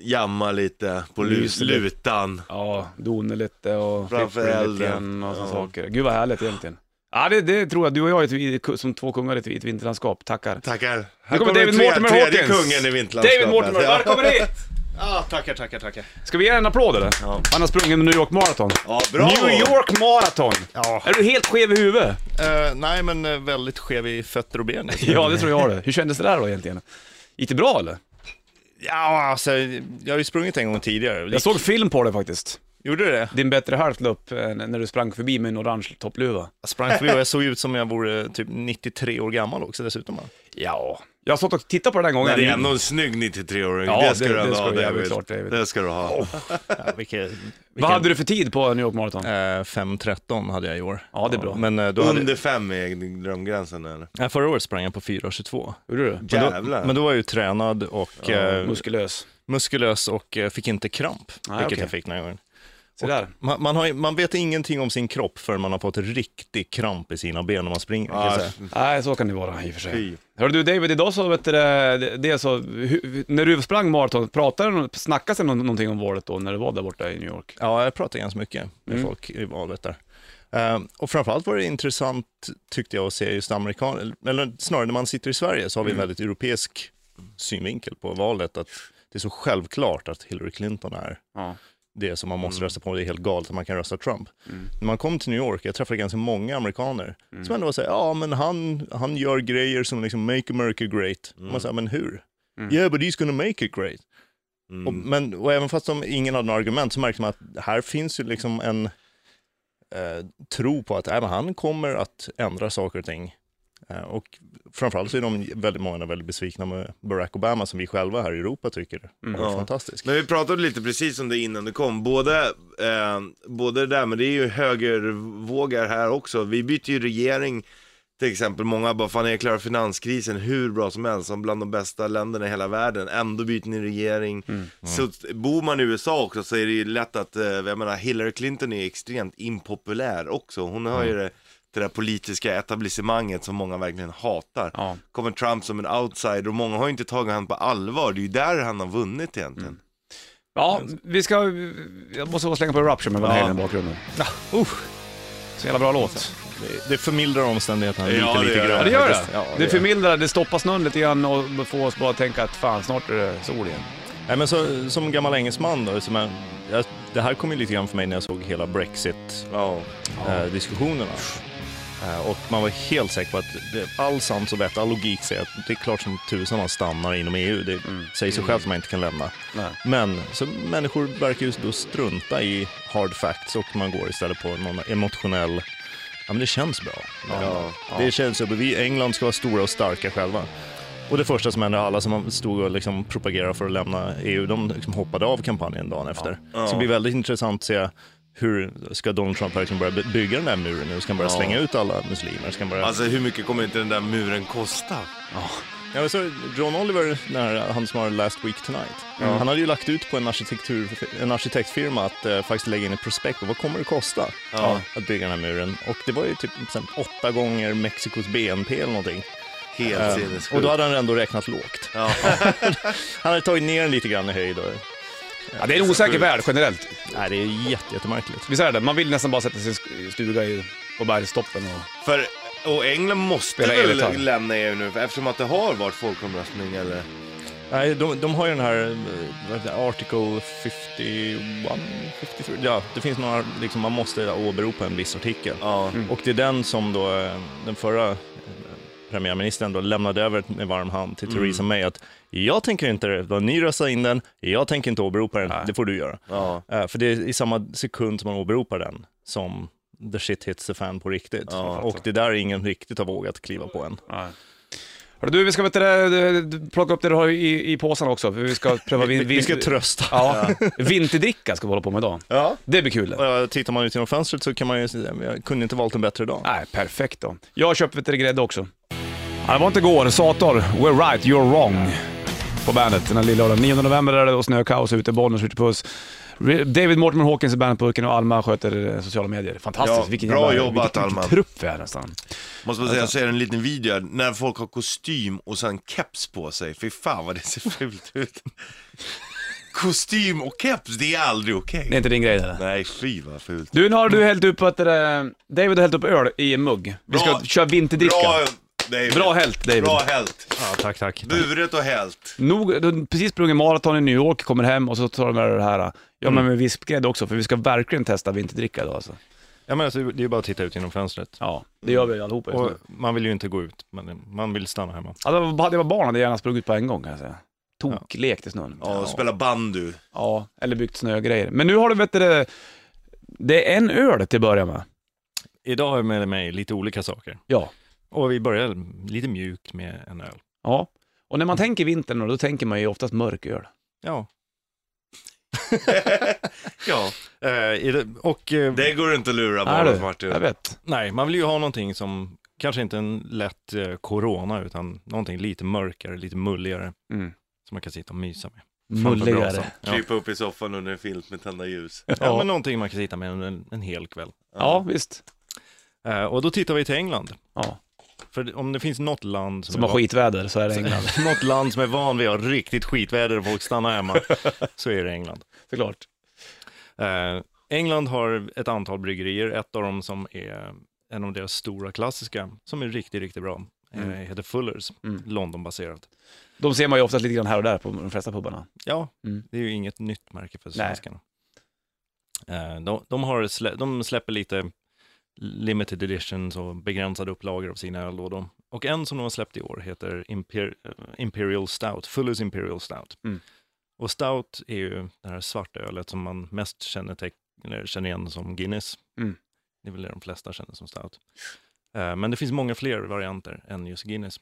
jammar lite på lus- Myser lite. lutan. Ja, doner lite och Framför flipper elden. lite grann och såna Ja. saker. Gud vad härligt egentligen. Ja, det, det tror jag. Du och jag är ett, vi- som två kungar i ett, i ett vinterlandskap. Tackar. Tackar. Nu kommer David tre- Mortimer tredje Hawkins. kungen i vinterlandskapet. David Mortimer, Ja. välkommen (laughs) hit! Ah, tackar, tackar, tackar. Ska vi ge en applåd eller? Ja. Han har sprungit New York Marathon. Ja, bra! New York Marathon! Ja. Är du helt skev i huvudet? Eh, nej, men eh, väldigt skev i fötter och ben. Ja, det tror jag det. Hur kändes det där då egentligen? Gick det bra eller? ja, alltså, jag har ju sprungit en gång tidigare. Jag såg film på det faktiskt. Gjorde du det? Din bättre hälft la upp eh, när du sprang förbi med en orange toppluva. Jag sprang förbi och jag såg ut som jag vore typ 93 år gammal också dessutom. va? Ja. Jag har stått och tittat på den här gången. Men det är ändå en snygg 93-åring, Ja, det ska det- du ändå det ska ha du- ja, det är David. klart, David. Det ska du ha. Ja, vilket, vilket, (laughs) Vad hade du för tid på New York Marathon? Eh, 5.13 hade jag i år. Ja, det är bra. Men eh, då hade, Under fem är drömgränsen eller? Nej, förra året sprang jag på 4.22. Hur är du? Jävlar. Men då var jag ju tränad och eh, Muskulös. muskulös och eh, fick inte kramp, Nej, vilket okej. jag fick några gånger. Se där. Man, man, har, man vet ingenting om sin kropp förrän man har fått riktig kramp i sina ben när man springer. kan jag Ja, säga. Nej, så kan det vara i och för sig. fy. Hör du David, idag så vet du det, det är så, hu- när du sprang maraton, pratade du, snackades det nå- någonting om valet då när du var där borta i New York? Ja, jag pratade ganska mycket med folk i valet där. Eh, och framförallt var det intressant, tyckte jag, att se just amerikaner, eller snarare när man sitter i Sverige så har vi en väldigt europeisk synvinkel på valet, att det är så självklart att Hillary Clinton är Ja. det som man måste rösta på, det är helt galet att man kan rösta Trump. När man kom till New York, jag träffade ganska många amerikaner, som ändå var såhär, ja men han, han gör grejer som liksom make America great. Mm. Man säger, men hur? Yeah but he's gonna make it great. Och, Mm. men, och även fast de, ingen hade några argument så märkte man att här finns ju liksom en eh, tro på att äh, men han kommer att ändra saker och ting. Eh, och framförallt så är de väldigt många väldigt besvikna med Barack Obama som vi själva här i Europa tycker är Mm. Ja. fantastisk. Men vi pratade lite precis om det innan du kom. Både, eh, både det där, men det är ju högervågar här också. Vi byter ju regering till exempel. Många bara, fan jag klarar finanskrisen hur bra som helst, som bland de bästa länderna i hela världen. Ändå byter ni regering. Så bor man i USA också så är det ju lätt att, eh, jag menar Hillary Clinton är extremt impopulär också. Hon har ju det, det där politiska etablissemanget som många verkligen hatar Ja. kommer Trump som en outsider och många har ju inte tagit honom på allvar. Det är ju där han har vunnit egentligen. Ja, vi ska, jag måste bara slänga på Eruption med Van Halen i bakgrunden. Ah, uff. Så jävla bra låt. Det, det förmildrar omständigheterna Ja, lite, det lite grann. gör det. Ja, det gör det. faktiskt. Ja, det det gör förmildrar, det stoppar snön lite grann och får oss bara att tänka att fan, snart är det sol igen. Nej, men så, som gammal engelsman då, som jag, jag, det här kom ju lite grann för mig när jag såg hela Brexit-diskussionerna. Ja. Eh, diskussionerna. eh, och man var helt säker på att det, all sans och vett, all logik säger att det är klart som tusan man stannar inom EU. Det Mm. säger sig självt att man inte kan lämna. Nej. Men så människor verkar ju då strunta i hard facts och man går istället på någon emotionell Ja, men det känns bra. Ja. Det känns ju, vi England ska vara stora och starka själva. Och det första som hände, alla som stod och liksom propagerade för att lämna EU, de liksom hoppade av kampanjen dagen efter. Så det blir väldigt intressant att se hur ska Donald Trump verkligen börja by- bygga den där muren nu? Ska han börja slänga ut alla muslimer? Ska han börja... Alltså hur mycket kommer inte den där muren kosta? Ja, men så John Oliver, den här, han som har Last Week Tonight, han hade ju lagt ut på en, arkitektur, en arkitektfirma att eh, faktiskt lägga in ett prospekt på vad kommer det kosta Ja. att bygga den här muren. Och det var ju typ så här, åtta gånger Mexikos BNP eller någonting. Helt Eh, sinnessjukt. och då hade han ändå räknat (laughs) lågt. Ja. Han hade tagit ner den lite grann i höjd. Och, Ja, det är en osäker värld generellt. nej, det är jätte, jättemärkligt. Visst är det Man vill nästan bara sätta sin sk- stuga i, på bergstoppen och... För, och England måste Spela elgitarr. väl lämna EU nu eftersom att det har varit folkomröstning eller? Nej, de, de har ju den här eh, vad heter det, Article 51, 53, ja, det finns några, liksom, man måste åberopa en viss artikel. Ja. Och det är den som då eh, den förra eh, premiärministern då lämnade över med varm hand Mm. till Theresa May att jag tänker inte det, då ni röstar in den, jag tänker inte åberopa den, det får du göra. Ja. Eh, För det är i samma sekund som man åberopar den som the shit hits the fan på riktigt. Och det där är ingen riktigt har vågat kliva på än. Nej. Hörru, Du, vi ska vet du, eh, plocka upp det du har i, i påsen också, för vi ska pröva vin, (laughs) Vi, vi ska vin- trösta. Ja, (laughs) vinterdricka ska vi hålla på med idag. Ja. Det blir kul. det. (laughs) Eh, Tittar man ut genom fönstret så kan man ju säga, jag kunde inte valt en bättre dag. Nej, perfekt då. Jag har köpt lite grädde också. Ja, det var inte igår. Sator, we're right, you're wrong. På bandet den här lillördagen. 9 november är det och snökaos ute. Bollnäs skjuter puss. Re- David Mortimer Hawkins är bandetburken och Alma sköter eh, sociala medier. Fantastiskt. Ja, vilken bra jävla, jobbat, vilken, vilken Alma. trupp vi är nästan. Måste man säga så är det en liten video här, när folk har kostym och sen keps på sig. Fy fan vad det ser fult ut. kostym och keps, det är aldrig okej. Det är inte din grej det där. Nej, fy vad fult. Du, nu har du hällt upp att det där, David har hällt upp öl i en mugg. Vi ska Bra. köra vinterdricka. Bra, David. Bra hällt, David. Bra hällt. Ja, tack, tack. Buret och hällt. Nog, du har precis sprungit maraton i New York, kommer hem och så tar de med det här. Ja, Mm. men med vispgrädde också, för vi ska verkligen testa vinterdricka idag alltså. Ja, men alltså, det är bara att titta ut genom fönstret. Ja, det gör vi allihopa just Och nu. man vill ju inte gå ut, men man vill stanna hemma. Alltså, hade jag varit barn hade jag gärna sprungit ut på en gång kan jag säga. Toklekt i snön. Ja, och spela bandy. Ja, eller byggt snögrejer. Men nu har du, vet du, det- det är en öl till att börja med. Idag har jag med mig lite olika saker. Ja. Och vi börjar lite mjukt med en öl. Ja. Och Mm. när man tänker vintern då, då tänker man ju oftast mörk öl. Ja. ja, Eh, i det- och eh, det går inte att Nej, lura barnet du. Martin. Jag vet. nej, man vill ju ha någonting som, kanske inte en lätt eh, corona, utan någonting lite mörkare, lite mulligare, Mm. som man kan sitta och mysa med. Framför brasan. Mulligare. Ja. Krypa upp i soffan under en filt med tända ljus. alltså. ja, men någonting man kan sitta med en, en hel kväll. Ja, visst. Eh, och då tittar vi till England. Ja. För om det finns något land som, Som är har skitväder så är det England. (laughs) något land som är van vid att ha riktigt skitväder och folk stannar (laughs) hemma, så är det England. (laughs) Såklart. Eh, England har ett antal bryggerier, ett av dem som är en av deras stora klassiska, som är riktigt, riktigt bra, eh, Mm. heter Fullers, Londonbaserat. De ser man ju oftast lite grann här och där på de flesta pubarna. Ja, Mm. det är ju inget nytt märke för Nej. svenskarna. Eh, de, de, har slä, de släpper lite limited editions och begränsade upplagor av sina öl. då de- Och en som de har släppt i år heter Imper, eh, Imperial Stout, Fullers Imperial Stout. Mm. Och Stout är ju det här svarta ölet som man mest känner, teck- eller känner igen som Guinness. Mm. Det är väl det de flesta känner som Stout. Eh, Men det finns många fler varianter än just Guinness.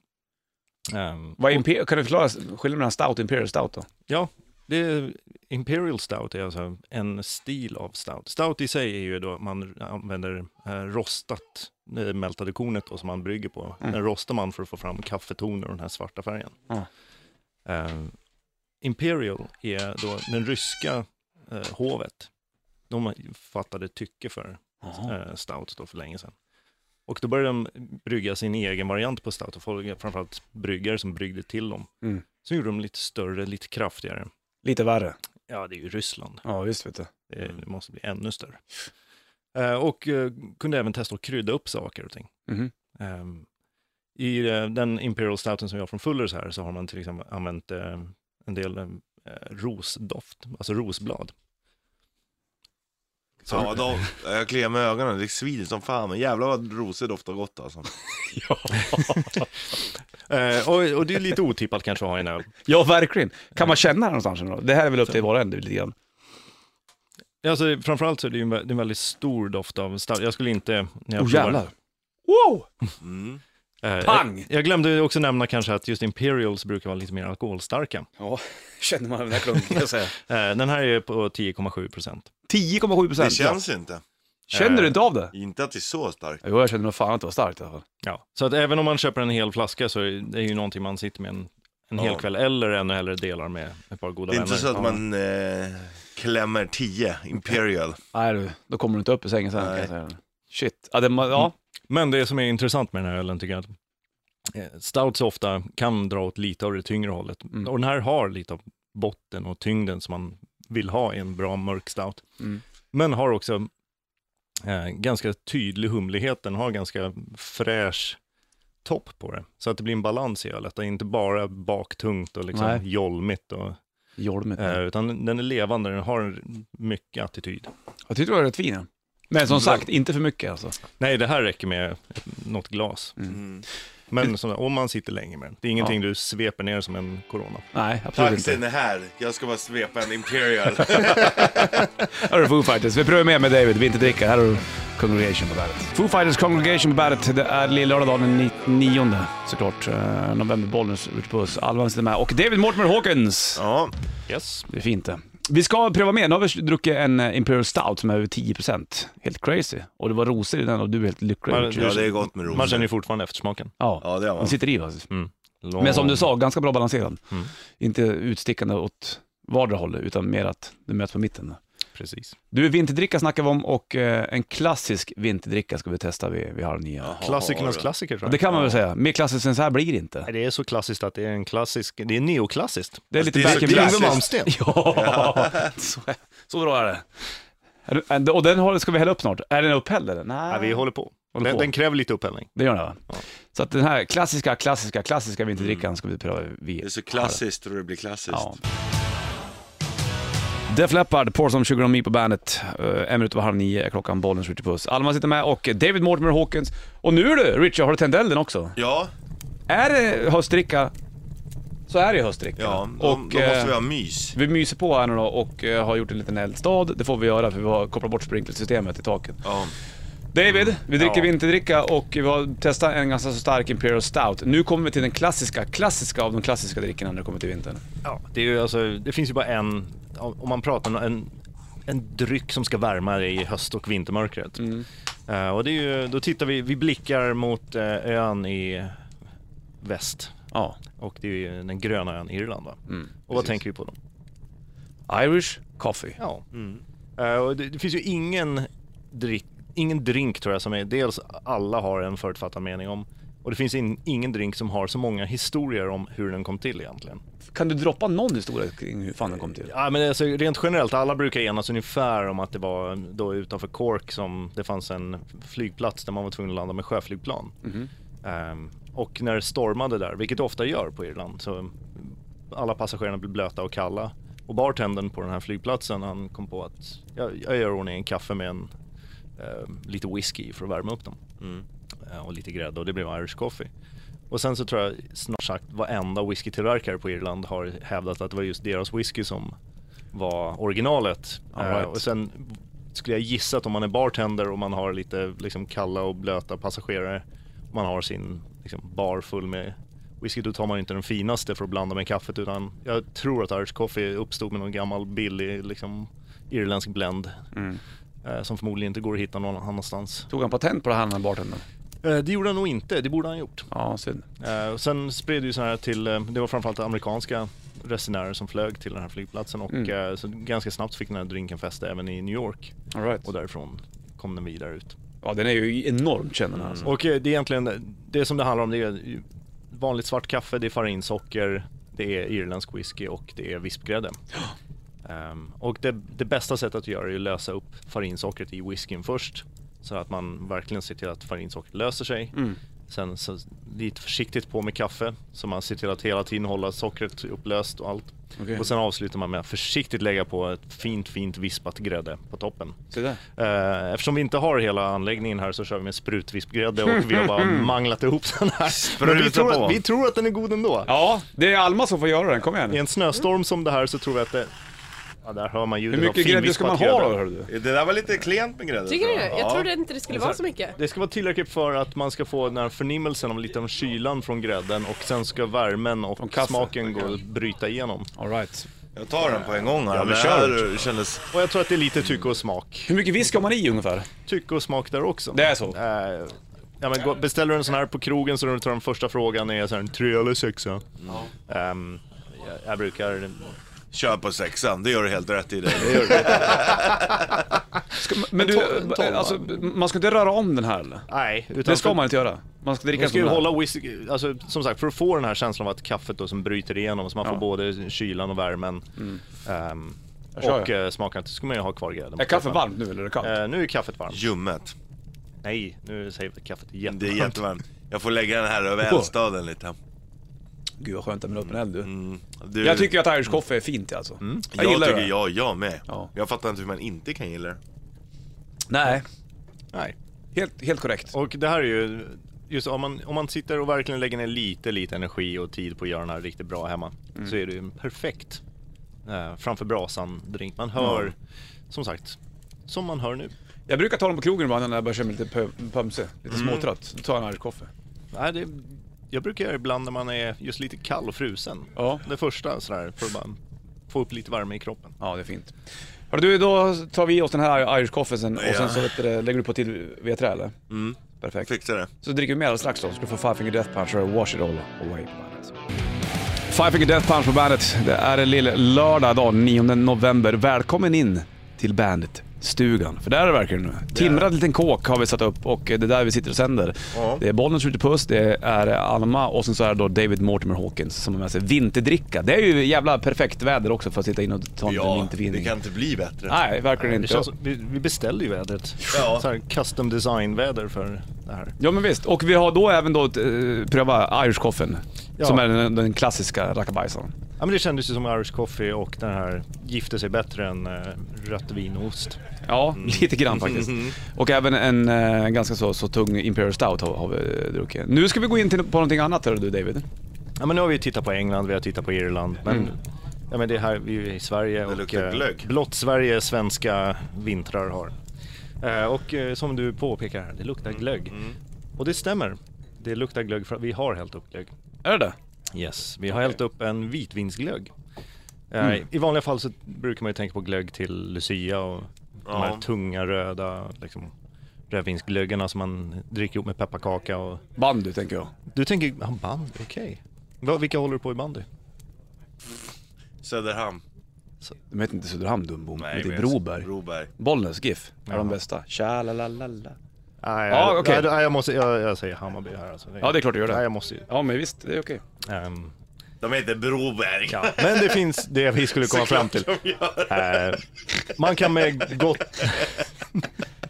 Ehm, Vad är imper- kan du förklara skillnaden mellan stout och imperial stout då? Ja, det är, Imperial Stout är alltså en stil av stout. Stout i sig är ju då att man använder eh, rostat, det mältade kornet då, som man brygger på. Den rostar man för att få fram kaffetoner och den här svarta färgen. Ja. Eh, Imperial är då den ryska eh, hovet. De fattade tycke för eh, stout då för länge sedan. Och då började de brygga sin egen variant på stout, och folk, framförallt bryggare som bryggde till dem. Mm. Så gjorde de lite större, lite kraftigare. Lite värre. Ja, det är ju Ryssland. Ja, visst vet du. Det det måste bli ännu större. Eh, Och eh, kunde även testa att krydda upp saker och ting. Mhm. Ehm, I eh, den Imperial Stouten som vi har från Fullers här så har man till exempel använt eh, en del eh, rosdoft, alltså rosblad. Ja, (laughs) då, jag kliar med ögonen, det svider som fan. Men jävlar vad rosor doftar gott alltså. (laughs) Eh, Och, och det är lite otippat kanske att ha i en öl. (laughs) Ja, verkligen. Kan man känna det någonstans? Då? Det här är väl upp till var och en det är lite grann. Alltså, framförallt så är det ju en, vä- det är en väldigt stor doft av stout. Jag skulle inte... När jag Oh provar- jävlar. Wow! Mm. Eh, Pang! Jag, jag glömde också nämna kanske att just Imperials brukar vara lite mer alkoholstarka. Ja, (laughs) känner man den där klunken kan jag (laughs) säga. Eh, Den här är på 10,7 procent. 10,7 procent. Det känns inte. Känner du inte av det? Inte att det är så starkt. Jo, jag känner nog fan att det var starkt i alla fall. Ja. Så att även om man köper en hel flaska så är det ju någonting man sitter med en, en hel Ja. kväll eller ännu hellre delar med ett par goda Det är vänner. inte så att man eh, klämmer 10 Imperial. Nej du, då kommer du inte upp i sängen sen kan jag Nej. säga. Shit. Ja, det, ma- ja. Men det som är intressant med den här ölen tycker jag att eh, stouts ofta kan dra åt lite av det tyngre hållet. Mm. Och den här har lite av botten och tyngden som man vill ha i en bra mörk stout. Mm. Men har också eh, ganska tydlig humlighet, den har ganska fräsch topp på det. Så att det blir en balans i ölet, det är inte bara baktungt och liksom Nej. jolmigt. Och, Jolmigt. eh, utan den är levande, den har en- mycket attityd. Jag tyckte det var rätt fin. ja. Men som sagt, inte för mycket alltså. Nej, det här räcker med ett- något glas. Mm. Men som, om man sitter länge med den. Det är ingenting du sveper ner som en corona. Nej, absolut Taxin inte. är här, jag ska bara svepa en Imperial. Här har du Foo Fighters. Vi prövar mer med David, vi inte dricker. Här har du Congregation på bandet. Foo Fighters Congregation på bandet. Det är lillördag den 99 såklart. Eh, November, Bollnäs, ute på oss. Alvan sitter med. Och David Mortimer Hawkins. ja, Yes. Det är fint det. Vi ska pröva mer. Nu har vi druckit en eh, Imperial Stout som är över 10%. Helt crazy. Och det var rosor i den och du är helt lycklig. Men- ja, det är gott med Man känner rosor. ju fortfarande eftersmaken. Ja, Ja, det har man. den sitter i faktiskt. Lång. Men som du sa, ganska bra balanserad. Mm. Inte utstickande åt vardera hållet, utan mer att du möts på mitten. Precis. Du, vinterdricka snackar vi om och eh, en klassisk vinterdricka ska vi testa vid, vid halv nio. Klassikernas klassiker tror jag. Det kan man väl säga. Mer klassiskt än så här blir det inte. Nej, Det är så klassiskt att det är en klassisk, det är neoklassiskt. Det är Fast lite det är back så in black. klassiskt. Yngve Malmsten. (laughs) Ja, så, så bra är det. Är du- är- Och den har- ska vi hälla upp snart. Är den upphälld eller? Nej, vi håller på. Håller den, på. den kräver lite upphällning. Det gör den va? Så att den här klassiska, klassiska, klassiska vinterdrickan ska vi pröva vid Mm. Det är så klassiskt och det blir klassiskt. Ja. Def Leppard, Pour Some Sugar On Me på bandet. Eh, En minut över halv nio är klockan, bollen skjuter puss. Alma sitter med och David Mortimer Hawkins. Och nu du, Richard, har du tänt elden också? Ja, Är det höstdricka, så är det höstdricka. ja då, och, då måste eh, vi ha mys. vi myser på här nu då och eh, har gjort en liten eldstad. Det får vi göra för vi har kopplat bort sprinklersystemet i taket. Ja. David, vi dricker Ja. vinterdricka och vi har testat en ganska så stark Imperial Stout. Nu kommer vi till den klassiska, klassiska av de klassiska drickorna när det kommer till vintern. Ja, det, är ju alltså, det finns ju bara en, om man pratar om en, en dryck som ska värma dig i höst och vintermörkret. Eh, och det är ju, då tittar vi, vi blickar mot eh, ön i väst. Ja. Och det är ju den gröna ön Irland va? och vad Mm. precis. tänker vi på då? Irish Coffee. Ja. Eh, och det, det finns ju ingen drink, ingen drink tror jag som är, dels alla har en förutfattad mening om och det finns in, ingen drink som har så många historier om hur den kom till egentligen. Kan du droppa någon historia kring hur fan den kom till? Ja, men alltså, rent generellt, alla brukar enas ungefär om att det var då utanför Cork som det fanns en flygplats där man var tvungen att landa med sjöflygplan. Ehm, och när det stormade där, vilket det ofta gör på Irland, så alla passagerarna blev blöta och kalla. Och bartendern på den här flygplatsen, han kom på att jag, jag gör i ordning en kaffe med en, ehm, lite whisky för att värma upp dem. Eh, och lite grädde och det blev Irish coffee. Och sen så tror jag snart sagt varenda whiskytillverkare på Irland har hävdat att det var just deras whisky som var originalet. All right. Eh, och sen skulle jag gissa att om man är bartender och man har lite liksom, kalla och blöta passagerare, man har sin liksom, bar full med whisky, då tar man inte den finaste för att blanda med kaffet utan jag tror att Irish coffee uppstod med någon gammal billig liksom, irländsk blend. eh, Som förmodligen inte går att hitta någon annanstans. Mm. Tog han patent på det här, den här bartendern? Eh, Det gjorde han nog inte, det borde han ha gjort. Ja, synd. Eh, och sen spred det ju sådana här till, eh, det var framförallt amerikanska resenärer som flög till den här flygplatsen och Mm. eh, så ganska snabbt fick den här drinken fäste även i New York All right. och därifrån kom den vidare ut. Ja, den är ju enormt känd den här. Alltså. Och eh, det är egentligen, det som det handlar om det är ju vanligt svart kaffe, det är farinsocker, det är irländsk whisky och det är vispgrädde. Ehm, och det, det bästa sättet att göra är att lösa upp farinsockret i whiskyn först. Så att man verkligen ser till att farinsockret löser sig. Sen så lite försiktigt på med kaffe så man ser till att hela tiden hålla sockret upplöst och allt. Okej. Och sen avslutar man med att försiktigt lägga på ett fint, fint vispat grädde på toppen. Se där. Eh, Eftersom vi inte har hela anläggningen här så kör vi med sprutvispgrädde och vi (laughs) har bara manglat ihop den här. Men vi Spruta tror, på. att, vi tror att den är god ändå. Ja, det är Alma som får göra den. Kom igen. I en snöstorm som det här så tror vi att det... Ja, där hör man ljudet Hur mycket grädde ska man ha då, hör du? Det där var lite klent med grädde. Tycker du tror det? Jag trodde inte det skulle vara så mycket. Det ska vara tillräckligt för att man ska få den här förnimmelsen av lite av kylan från grädden och sen ska värmen Från och kaffet. smaken gå att bryta igenom. All right. Jag tar den på en gång här. Ja, men Det kör. här kändes... Och jag tror att det är lite tycke och smak. Hur mycket whisky har man i ungefär? Tycke och smak där också. Det är så? Eh, Ja, men gå- beställer du en sån här på krogen så tar den första frågan är så här, en tre eller sexa? Ehm, jag, jag brukar Kör på sexan, det gör du helt rätt i det. Ska, man- men du, tolv- tolv, alltså, man ska inte röra om den här eller? Nej, utan Det ska för- man inte göra. Man ska dricka Man ska en ju sån här. hålla whisky, alltså som sagt för att få den här känslan av att kaffet då som bryter igenom så man Ja. Mm. får både kylan och värmen. ehm, kör och eh, smaken, så ska man ju ha kvar grädden. Är kaffet varmt nu eller är det kallt? Eh, nu är kaffet varmt. Ljummet. Nej, nu säger vi att kaffet är jättevarmt. Det är jättevarmt. Jag får lägga den här över eldstaden lite. Gud vad skönt att man öppnar eld du. Du, Jag tycker att Irish coffee är fint alltså. jag, Mm. Jag gillar tycker det. jag, jag med. Ja. Jag fattar inte hur man inte kan gilla det. Nej, Nej. helt, helt korrekt. Och det här är ju just om man, om man sitter och verkligen lägger ner lite, lite energi och tid på att göra den här riktigt bra hemma Mm. så är det ju en perfekt eh, framför brasan-drink. Man hör, som sagt, som man hör nu. Jag brukar ta dem på krogen ibland när jag börjar känna mig lite pö- pömse, lite småtrött. Då tar jag en Irish coffee. Nej, det, jag brukar göra ibland när man är just lite kall och frusen. Ja. Det första sådär, för att bara få upp lite värme i kroppen. Ja, det är fint. Hör du, då tar vi oss den här Irish coffee sen och sen så vet du, det, lägger du på till vedträ eller? Perfekt. Fixa det. Så dricker vi mer alldeles strax då, så ska du få Five Finger Death Punch och Wash It All Away på bandet. Five Finger Death Punch på bandet. Det är en lille lördag idag, 9 november. Välkommen in till bandet. Stugan, för där är det verkligen nu. Timrad liten kåk har vi satt upp och det är där vi sitter och sänder. Det är Bollnäs skjuter puss, det är Alma och sen så är det då David Mortimer Hawkins som har med sig vinterdricka. Det är ju jävla perfekt väder också för att sitta in och ta en liten Ja, det vintervinning. kan inte bli bättre. Nej, verkligen Det inte. känns, som- vi, vi beställde ju vädret. Ja. Så här custom design-väder för det här. Ja men visst, och vi har då även då eh, prövat Irish Coffin, Ja. som är den, den klassiska rackabajsaren. Ja, men det kändes ju som Irish Coffee och den här gifte sig bättre än eh, rött vin och ost. Ja, lite grann (laughs) faktiskt. Och även en eh, ganska så, så tung Imperial Stout har, har vi eh, druckit. Nu ska vi gå in till, på någonting annat hör du David. Ja, men nu har vi tittat på England, vi har tittat på Irland, men, ja, men det här, vi är ju i Sverige och Mm. luktar glögg. blott Sverige svenska vintrar har. Eh, och eh, som du påpekar här, det luktar Mm. glögg. Och det stämmer, det luktar glögg för att vi har hällt upp glögg. Är det det? Yes, vi har hällt upp en vitvinsglögg. Eh, Mm. I vanliga fall så brukar man ju tänka på glögg till Lucia och de här Ja. tunga röda liksom, rödvinsglöggarna som man dricker ihop med pepparkaka och... Bandy tänker jag. Du tänker, ja, bandy, okej. Va- Vilka håller du på i bandy? Söderhamn. De heter inte Söderhamn Dumbo, de heter men- Broberg. Broberg. Bollnäs GIF är de bästa. Tja la la la la. Nej, Ja, jag- okej. nej, jag, måste, jag, jag säger Hammarby här alltså. Ja det är klart du gör Nej, det. jag måste ju. Ja men visst, det är okej. ehm, De heter Broberg. ja. Men det finns det vi (laughs) skulle komma fram (laughs) till. Eh, man kan med gott...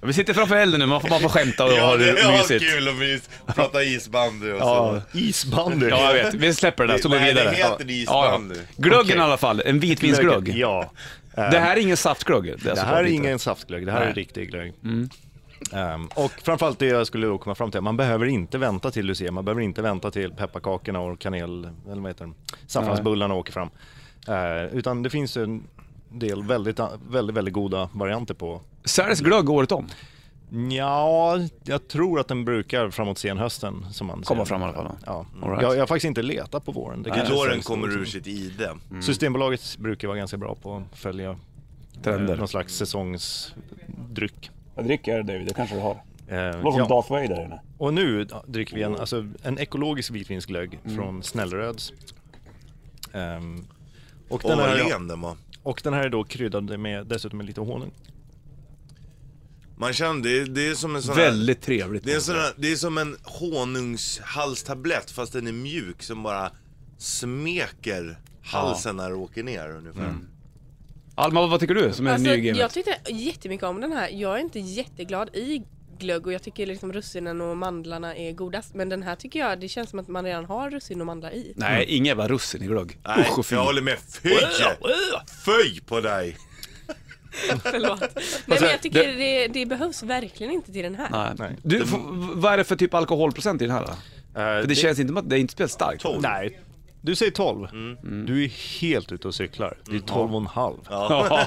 Vi sitter framför elden nu, man får, man får skämta och ha Ja, det det är mysigt. kul och mysigt. Prata isbandy och Ja. så. Isbandy. Ja, jag vet. Vi släpper det där, så går vi Nej, det vidare. heter det isbandy. Ja, ja. Glöggen Okej. i alla fall, en vitvinsglögg. Ja. Ehm, Det här är ingen saftglögg. Det, Det här är ingen saftglögg, det här Nej. Mm. är riktig glögg. Ehm, och framförallt det jag skulle då komma fram till, man behöver inte vänta till Lucia, man behöver inte vänta till pepparkakorna och kanel, eller vad heter de, saffransbullarna åker fram. Eh, utan det finns en del väldigt, väldigt, väldigt goda varianter på. Säljs glögg året om? Ja, jag tror att den brukar framåt senhösten som man Komma säger. fram i alla fall, då. Ja. All right. Jag, jag har faktiskt inte letat på våren. Det är kanske då den sägs kommer någonting. ur Mm. sitt ide. Systembolaget brukar vara ganska bra på att följa eh, någon Trender. slags säsongsdryck. Jag dricker David, det kanske du har. Eh, ja. Darth Vader inne. Och nu dricker vi en, alltså, en ekologisk vitvinsglögg Mm. från Snällröds. Ehm, och, Åh, den vad här, len den var. och den här är då kryddad med dessutom med lite honung. Man känner, det, det är som en sån här... Väldigt trevligt. Det är, en sån här, det är som en honungshalstablett fast den är mjuk som bara smeker halsen när det åker ner ungefär. Mm. Alma, vad- vad tycker du som är Alltså, ny i jag gamet? tyckte jättemycket om den här. Jag är inte jätteglad i glögg och jag tycker liksom russinen och mandlarna är godast. Men den här tycker jag, det känns som att man redan har russin och mandlar i. (laughs) Nej, inget jävla russin i glögg. Nej, Usch Äh, och fy. jag håller med. Fy! Fy på dig! Förlåt. Nej men jag tycker det, det behövs verkligen inte till den här. Nej. Du, f- vad är det för typ alkoholprocent i den här då? Eh, För det känns inte som att det är inte spelar starkt. Nej, du säger 12. Mm. Mm. Du är helt ute och cyklar. Det är 12 och en halv. Ja.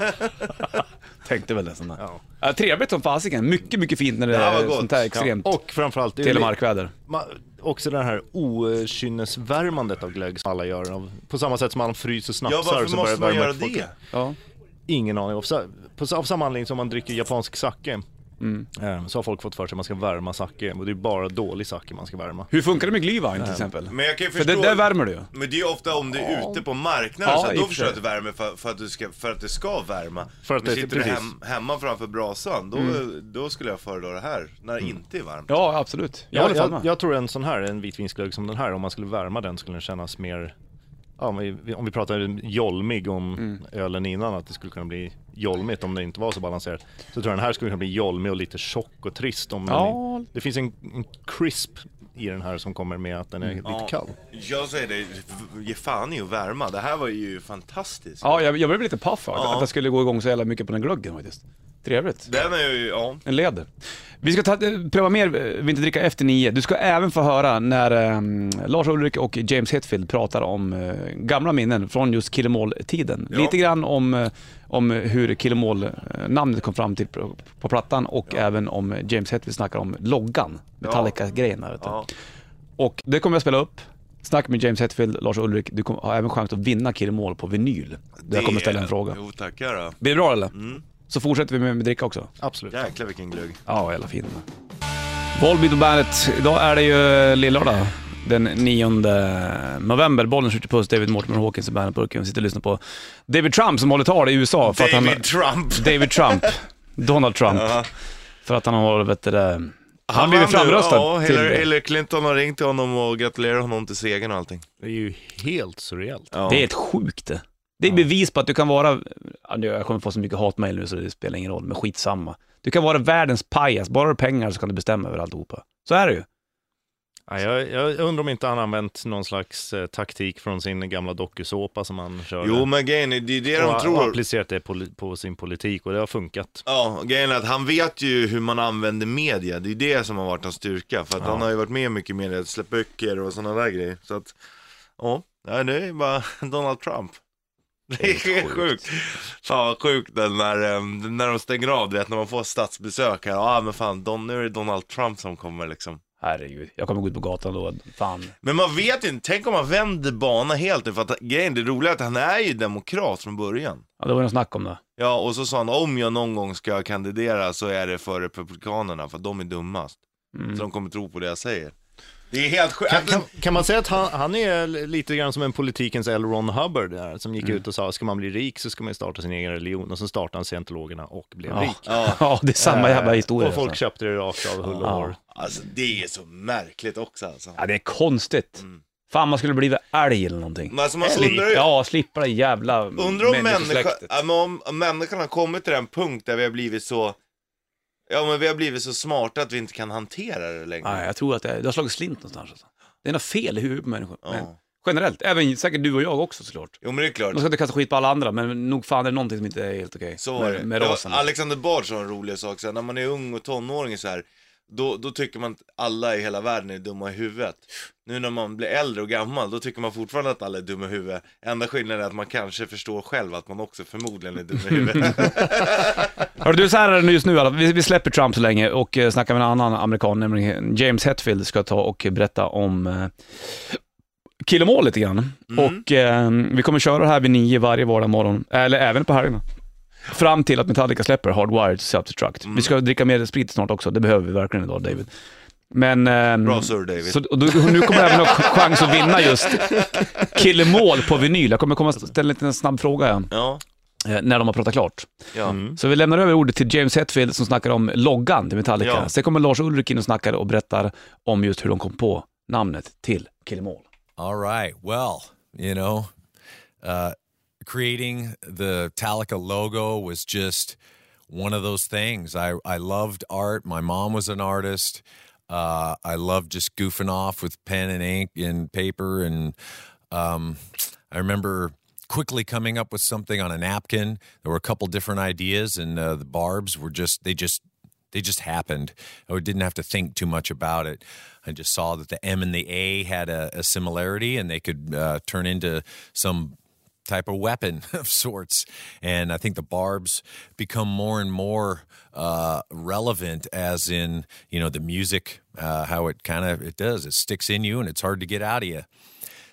(laughs) Tänkte väl nästan det. Ja. Ja, trevligt som fasiken. Mycket, mycket fint när det här var är gott. sånt här extremt Och framförallt, det är telemarkväder. ma- också det här okynnesvärmandet av glögg som alla gör. av- På samma sätt som man fryser Ja, snapsar. varför så börjar måste man värma göra upp folk. det? Ja. Ingen aning. Av, sa- på, av samma anledning som man dricker japansk sake eh, så har folk fått för sig att man ska värma sake. Och det är bara dålig sake man ska värma. Hur funkar det med glühwein till exempel? Men jag kan ju För det förstå- där värmer du ju. Men det är ju ofta om du är ute på marknaden Ja, så här, i och då för sig. försöker du värma för, för, att du ska, för att det ska värma. För att Men det- sitter du precis. hem, hemma framför brasan, då, Mm. då skulle jag föredra det här, när det inte är varmt. Ja, absolut. Jag Jag, håller fan jag, med. jag tror en sån här, en vitvinsglögg som den här, om man skulle värma den skulle den kännas mer, ja, om, vi, om vi pratar jolmig om ölen innan, att det skulle kunna bli jolmigt om det inte var så balanserat. Så tror jag den här skulle kunna bli jolmig och lite tjock och trist. Om den Ja. är, det finns en, en crisp i den här som kommer med att den är lite kall. Jag säger det, v- ge fan i att värma. Det här var ju fantastiskt. Ja, jag, jag blev lite paff av att- Ja. att jag skulle gå igång så jävla mycket på den glöggen faktiskt. Trevligt. Den är ju, ja. En led. Vi ska ta, eh, pröva mer eh, vinterdricka efter nio. Du ska även få höra när ehm, Lars Ulrik och James Hetfield pratar om eh, gamla minnen från just Killemål-tiden. Ja. Lite grann om, eh, om hur Killemål-namnet eh, kom fram till på, på plattan och även om James Hetfield snackar om loggan, Metallica-grejen där vet du. ja. Och det kommer jag spela upp. Snack med James Hetfield, Lars Ulrik. Du kommer, har även chans att vinna Killemål på vinyl. Där jag kommer ställa en fråga. Jo Mm. tackar då. Blir det bra eller? Så fortsätter vi med, med dricka också. Absolut. Jäklar vilken glögg. Ja, hela filmen. Volbeat och Bandet. Idag är det ju lillördag den 9 november. Bollen skjuter puss, David Mortimer Hawkins i Bandet-burken. Vi sitter och lyssnar på David Trump som håller tal i USA. För att han, David Trump. David Trump. Donald Trump. För att han har, vet du det, han, han blivit vann nu. framröstad. Ja, till- Hillary, Hillary Clinton har ringt till honom och gratulerat honom till segern och allting. Det är ju helt surrealt. Ja. Det är helt sjukt det. Det är bevis på att du kan vara, ja, nu- jag kommer få så mycket hatmejl nu så det spelar ingen roll, men skitsamma. Du kan vara världens pajas, bara du har pengar så kan du bestämma över alltihopa. Så är det ju. Ja, jag, jag undrar om inte han använt någon slags eh, taktik från sin gamla dokusåpa som han körde. Jo men grejen är, det är det och, de och tror. applicerat det på, på sin politik och det har funkat. Ja, grejen är att han vet ju hur man använder media. Det är det som har varit hans styrka. För att han har ju varit med mycket i media, släppt böcker och sådana där grejer. Så att, ja, nej, det är bara (laughs) Donald Trump. Det är sjukt. Fan vad sjukt det när, eh, när de stänger av, du vet när man får statsbesök här. Ja ah, men fan, Don, nu är det Donald Trump som kommer liksom. Herregud, jag kommer gå ut på gatan då, fan. Men man vet ju inte, tänk om man vänder bana helt nu, för att grejen, det roliga är att han är ju demokrat från början. Ja, det var ju något snack om det. Ja, och så sa han om jag någon gång ska kandidera så är det för republikanerna, för de är dummast. Mm. Så de kommer tro på det jag säger. Det är helt sjukt. Kan, kan, kan man säga att han, han är lite grann som en politikens L. Ron Hubbard där, som gick Mm. ut och sa ska man bli rik så ska man ju starta sin egen religion och så startade han scientologerna och blev Ja. rik. (laughs) Ja. det är samma jävla Eh, historia. Och folk alltså. köpte det rakt av hull och hår. Alltså det är så märkligt också alltså. Ja, det är konstigt. Fan, man skulle blivit älg eller någonting. Mm. Men alltså man Slip- undrar ju, Ja, slippa det jävla undrar om, människa, människosläktet. ja, men om, om människan har kommit till den punkt där vi har blivit så, ja men vi har blivit så smarta att vi inte kan hantera det längre. Nej, jag tror att det, det har slagit slint någonstans. Alltså. Det är något fel i huvudet på människor. Ja. Men, generellt, även säkert du och jag också såklart. Jo men det är klart. Man ska inte kasta skit på alla andra, men nog fan är det någonting som inte är helt okej Så var det. med, med Det var- rasen. Alexander Bard sa en rolig sak, så här, när man är ung och tonåring så här, då, då tycker man att alla i hela världen är dumma i huvudet. Nu när man blir äldre och gammal, då tycker man fortfarande att alla är dumma i huvudet. Enda skillnaden är att man kanske förstår själv att man också förmodligen är dum i (laughs) huvudet. Hörru du, så här är det just nu i alla fall. vi, vi släpper Trump så länge och eh, snackar med en annan amerikan, nämligen James Hetfield, ska ta och berätta om eh, Killemål lite grann. Mm. Och eh, vi kommer köra det här vid nio varje vardag morgon, eller även på helgerna. Fram till att Metallica släpper Hardwired to Self-Destruct. Mm. Vi ska dricka mer sprit snart också, det behöver vi verkligen idag David. Men... ehm, Bra sur David. så, och då, och nu kommer jag även ha ch- chans att vinna (laughs) just Killemål på vinyl. Jag kommer komma och ställa en liten snabb fråga ja, Ja, eh, när de har pratat klart. ja. Så vi lämnar över ordet till James Hetfield som snackar om loggan till Metallica. Ja. Sen kommer Lars Ulrik in och snackar och berättar om just hur de kom på namnet till Killemål. All right. Well, you know, uh, creating the Talica logo was just one of those things. I, I loved art. My mom was an artist. Uh, I loved just goofing off with pen and ink and paper. And um, I remember quickly coming up with something on a napkin. There were a couple different ideas, and uh, the barbs were just, they just, they just happened. I didn't have to think too much about it. I just saw that the M and the A had a, a similarity, and they could uh, turn into some type of weapon (laughs) of sorts. And I think the barbs become more and more uh, relevant, as in you know the music, uh, how it kind of it does. It sticks in you, and it's hard to get out of you.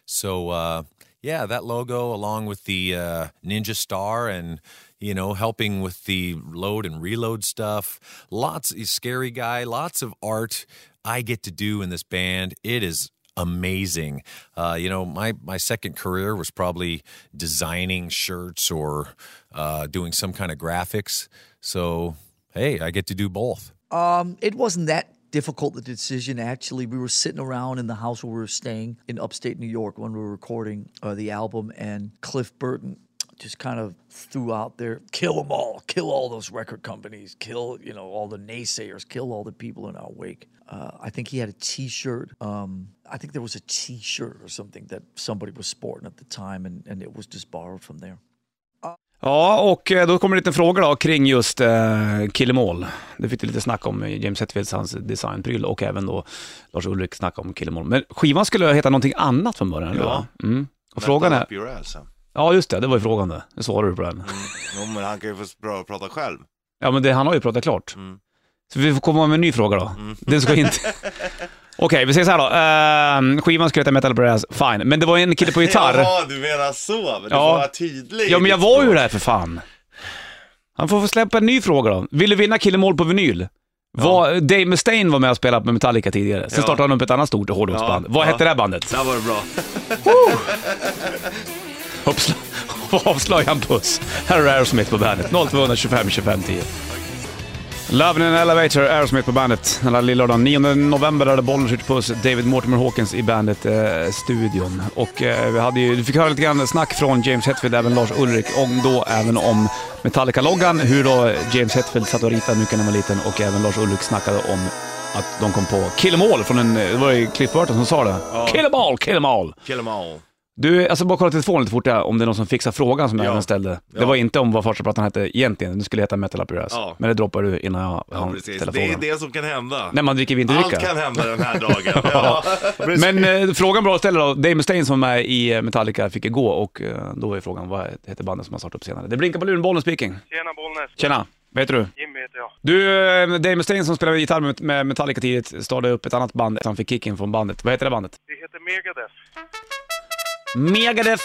So uh, yeah, that logo along with the uh, Ninja Star and you know helping with the load and reload stuff. Lots he's a scary guy. Lots of art I get to do in this band. It is amazing. Uh, you know my my second career was probably designing shirts or uh, doing some kind of graphics. So hey, I get to do both. Um, it wasn't that difficult the decision actually. We were sitting around in the house where we were staying in upstate New York when we were recording uh, the album, and Cliff Burton just kind of threw out there, "Kill them all, kill all those record companies, kill you know all the naysayers, kill all the people in our wake." Uh, I think he had a T-shirt. Um, I think there was a T-shirt or something that somebody was sporting at the time, and, and it was just borrowed from there. Ja, och eh, då kommer en liten fråga då kring just eh, Killemål. Det fick du lite snack om eh, James Hetfields, hans designpryl och även då Lars Ulrik snackade om Killemål. Men skivan skulle heta någonting annat från början, eller Ja. va? Mm. Och frågan Metal är... up your ass, han. Ja, just det. Det var ju frågan det. Nu svarade du på den. Jo, men han kan ju få pra- prata själv. Ja, men det, han har ju pratat klart. Mm. Så vi får komma med en ny fråga då. Den ska inte... (laughs) Okej, vi säger så här då. Ehm, skivan skulle heta Metal Brass, fine. Men det var ju en kille på (laughs) gitarr. Jaha, du menar så. Men du Ja. får vara tydlig. Ja, men jag var ju där för fan. Han får få släppa en ny fråga då. Vill du vinna Killemål på vinyl? Var, Dave Mustaine var med och spelade med Metallica tidigare. Sen Ja. startade han upp ett annat stort hårdrocksband. Ja, Vad ja. hette det här bandet? Där var det bra. Uppsla- (laughs) Avslöja en puss. Här är Aerosmith på bandet. 0225 25 10. Love in an elevator, Aerosmith på bandet. Den här lillördagen 9 november där det bollen skjuter puss. David Mortimer Hawkins i bandet-studion. och eh, vi hade ju, du fick höra lite grann snack från James Hetfield, även Lars Ulrik, om då även om Metallica-loggan, hur då James Hetfield satt och ritade mycket när han var liten och även Lars Ulrik snackade om att de kom på Kill 'em all från en, det var ju Cliff Burton som sa det. Kill 'em all, kill 'em all. Kill 'em all. Du, alltså bara kolla telefonen lite fort där, om det är någon som fixar frågan som jag Ja. även ställde. Det Ja. var inte om vad första plattan hette egentligen, den skulle heta Metal Up Your Ass. Ja. Men det droppar du innan jag Ja, hann precis. ställa Det är frågan. det som kan hända. När man dricker vinterdricka. Allt kan hända den här dagen. ja. Men eh, frågan bra att ställa då. Dave Mustaine som är i eh, Metallica fick gå och eh, då var ju frågan vad heter bandet som har startat upp senare. Det blinkar på luren, bollen speaking. Tjena Bollnäs. Tjena, vad heter du? Jimmy heter jag. Du, eh, Dave Mustaine som spelade gitarr med- med Metallica tidigt startade upp ett annat band, han fick kicken från bandet. Vad heter det bandet? Vi heter Megadeth. Megadeth,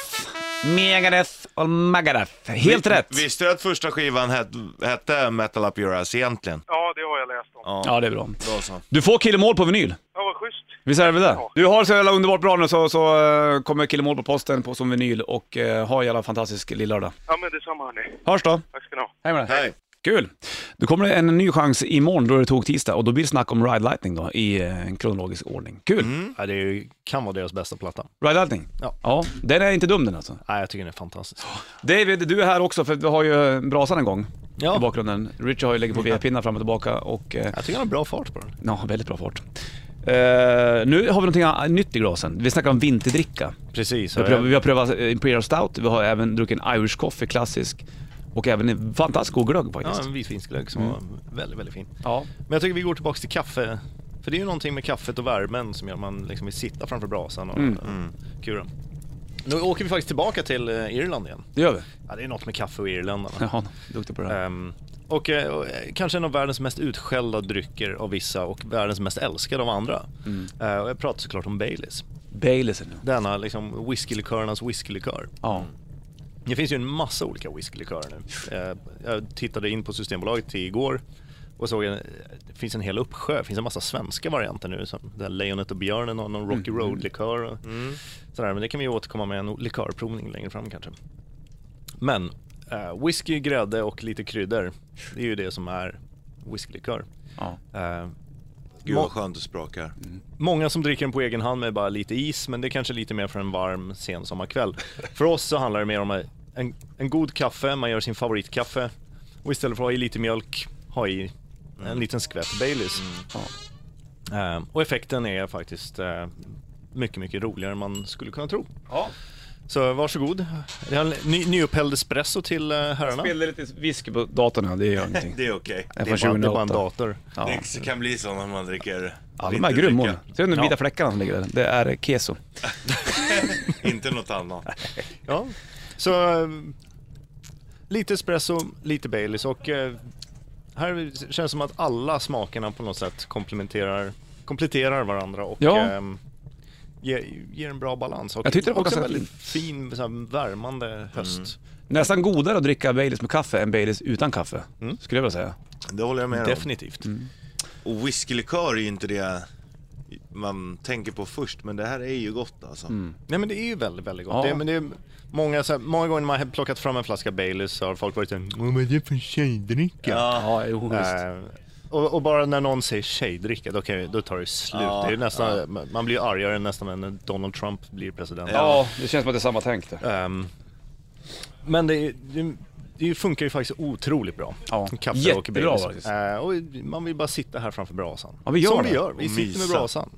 Megadeth och Megadeth. Helt rätt! Visste du att första skivan het- hette Metal Up Your Ass egentligen? Ja, det har jag läst om. Ja, det är bra. Då så. Du får Killemål på vinyl. Ja, vad schysst. Visst är det väl det? Du har så jävla underbart bra nu så, så eh, kommer Killemål på posten på, som vinyl och eh, ha en jävla fantastisk lillördag. Ja, men detsamma hörni. Hörs då! Tack ska ni ha. Hej med dig! Hej. Kul! Då kommer det en ny chans imorgon då det tog tisdag och då blir det snack om Ride Lightning då i eh, en kronologisk ordning. Kul! Ja, det är ju- kan vara deras bästa platta. Ride Lightning? Mm. Ja. ja. Den är inte dum den alltså. Nej, jag tycker den är fantastisk. David, du är här också för vi har ju eh, brasan en gång Ja. Mm. i bakgrunden. Richard har ju lägger på vedpinnar fram och tillbaka och eh, Jag tycker han har bra fart på den. ja, väldigt bra fart. Eh, nu har vi någonting an- nytt i glasen. Vi snackar om vinterdricka. Precis. Vi och har, prövat, vi har prövat eh, Imperial Stout, vi har även druckit en Irish Coffee klassisk och även en fantastisk god glögg jag- Ja, faktiskt. en vitvinsglögg som var väldigt, väldigt fin. Mm. Ja. Men jag tycker vi går tillbaka till kaffe. För det är ju någonting med kaffet och värmen som gör att man liksom vill sitta framför brasan och mm. kuren. Nu åker vi faktiskt tillbaka till eh, Irland igen. det gör vi. Ja, det är något med kaffe och irländarna. Ja, duktig på det här. Ehm, och, eh, och eh, kanske en av världens mest utskällda drycker av vissa och världens mest älskade av andra. Eh, och jag pratar såklart om Baileys. Baileys är det nu. Denna liksom whiskylikörernas whiskylikör. Ja. Det finns ju en massa olika whiskylikörer nu. Eh, Jag tittade in på Systembolaget till igår och såg att det finns en hel uppsjö. Det finns en massa svenska varianter nu. Som där Lejonet och björnen och någon Rocky Road-likör. Och sådär. Men det kan vi ju återkomma med en likörprovning längre fram kanske. Men eh, whisky, grädde och lite kryddor. Det är ju det som är whiskylikör. Ja. Eh, Gud vad skönt det sprakar. Många som dricker den på egen hand med bara lite is, men det är kanske lite mer för en varm sensommarkväll. För oss så handlar det mer om en, en god kaffe, man gör sin favoritkaffe och istället för att ha i lite mjölk, ha i en liten skvätt Baileys. Eh, och effekten är faktiskt eh, mycket, mycket roligare än man skulle kunna tro. Ja. Så varsågod. Det är en ny, nyupphälld espresso till eh, herrarna. Spelade lite whisky på datorn, ja, det gör ingenting. Det är okej. är Det är bara, det är bara en dator. Ja. Det kan bli så när man dricker Ja, de är grymma. vinterdricka. Ser du de vita Ja. fläckarna som ligger där? Det är keso. (laughs) Inte något annat. Ja. Så eh, lite espresso, lite Baileys och eh, här känns det som att alla smakerna på något sätt komplementerar, kompletterar varandra och Ja. ehm, ger, ger en bra balans. Och Jag tyckte det var också en ganska väldigt fin, så här, värmande höst. Nästan godare att dricka Baileys med kaffe än Baileys utan kaffe, skulle jag vilja säga. Det håller jag med om. Definitivt. Mm. Och whiskylikör är ju inte det man tänker på först, men det här är ju gott alltså. Nej men det är ju väldigt, väldigt gott. Ja. Det, men det är många, så här, många gånger när man har plockat fram en flaska Baileys så har folk varit såhär, "Åh, vad är det för tjejdricka? Ja, jo, Eh, och, och bara när någon säger tjejdricka, då, kan, ju- då tar det slut. Ja, det är nästan, Man blir ju argare än nästan än när Donald Trump blir president. Ja, det känns som att det är samma tänk det. Ehm, men det, är- det, det funkar ju faktiskt otroligt bra. Ja, Kaffe och jättebra Baileys. faktiskt. Eh, och Man vill bara sitta här framför brasan. Ja, vi gör Som det. vi gör, vi Och sitter med mysa. brasan.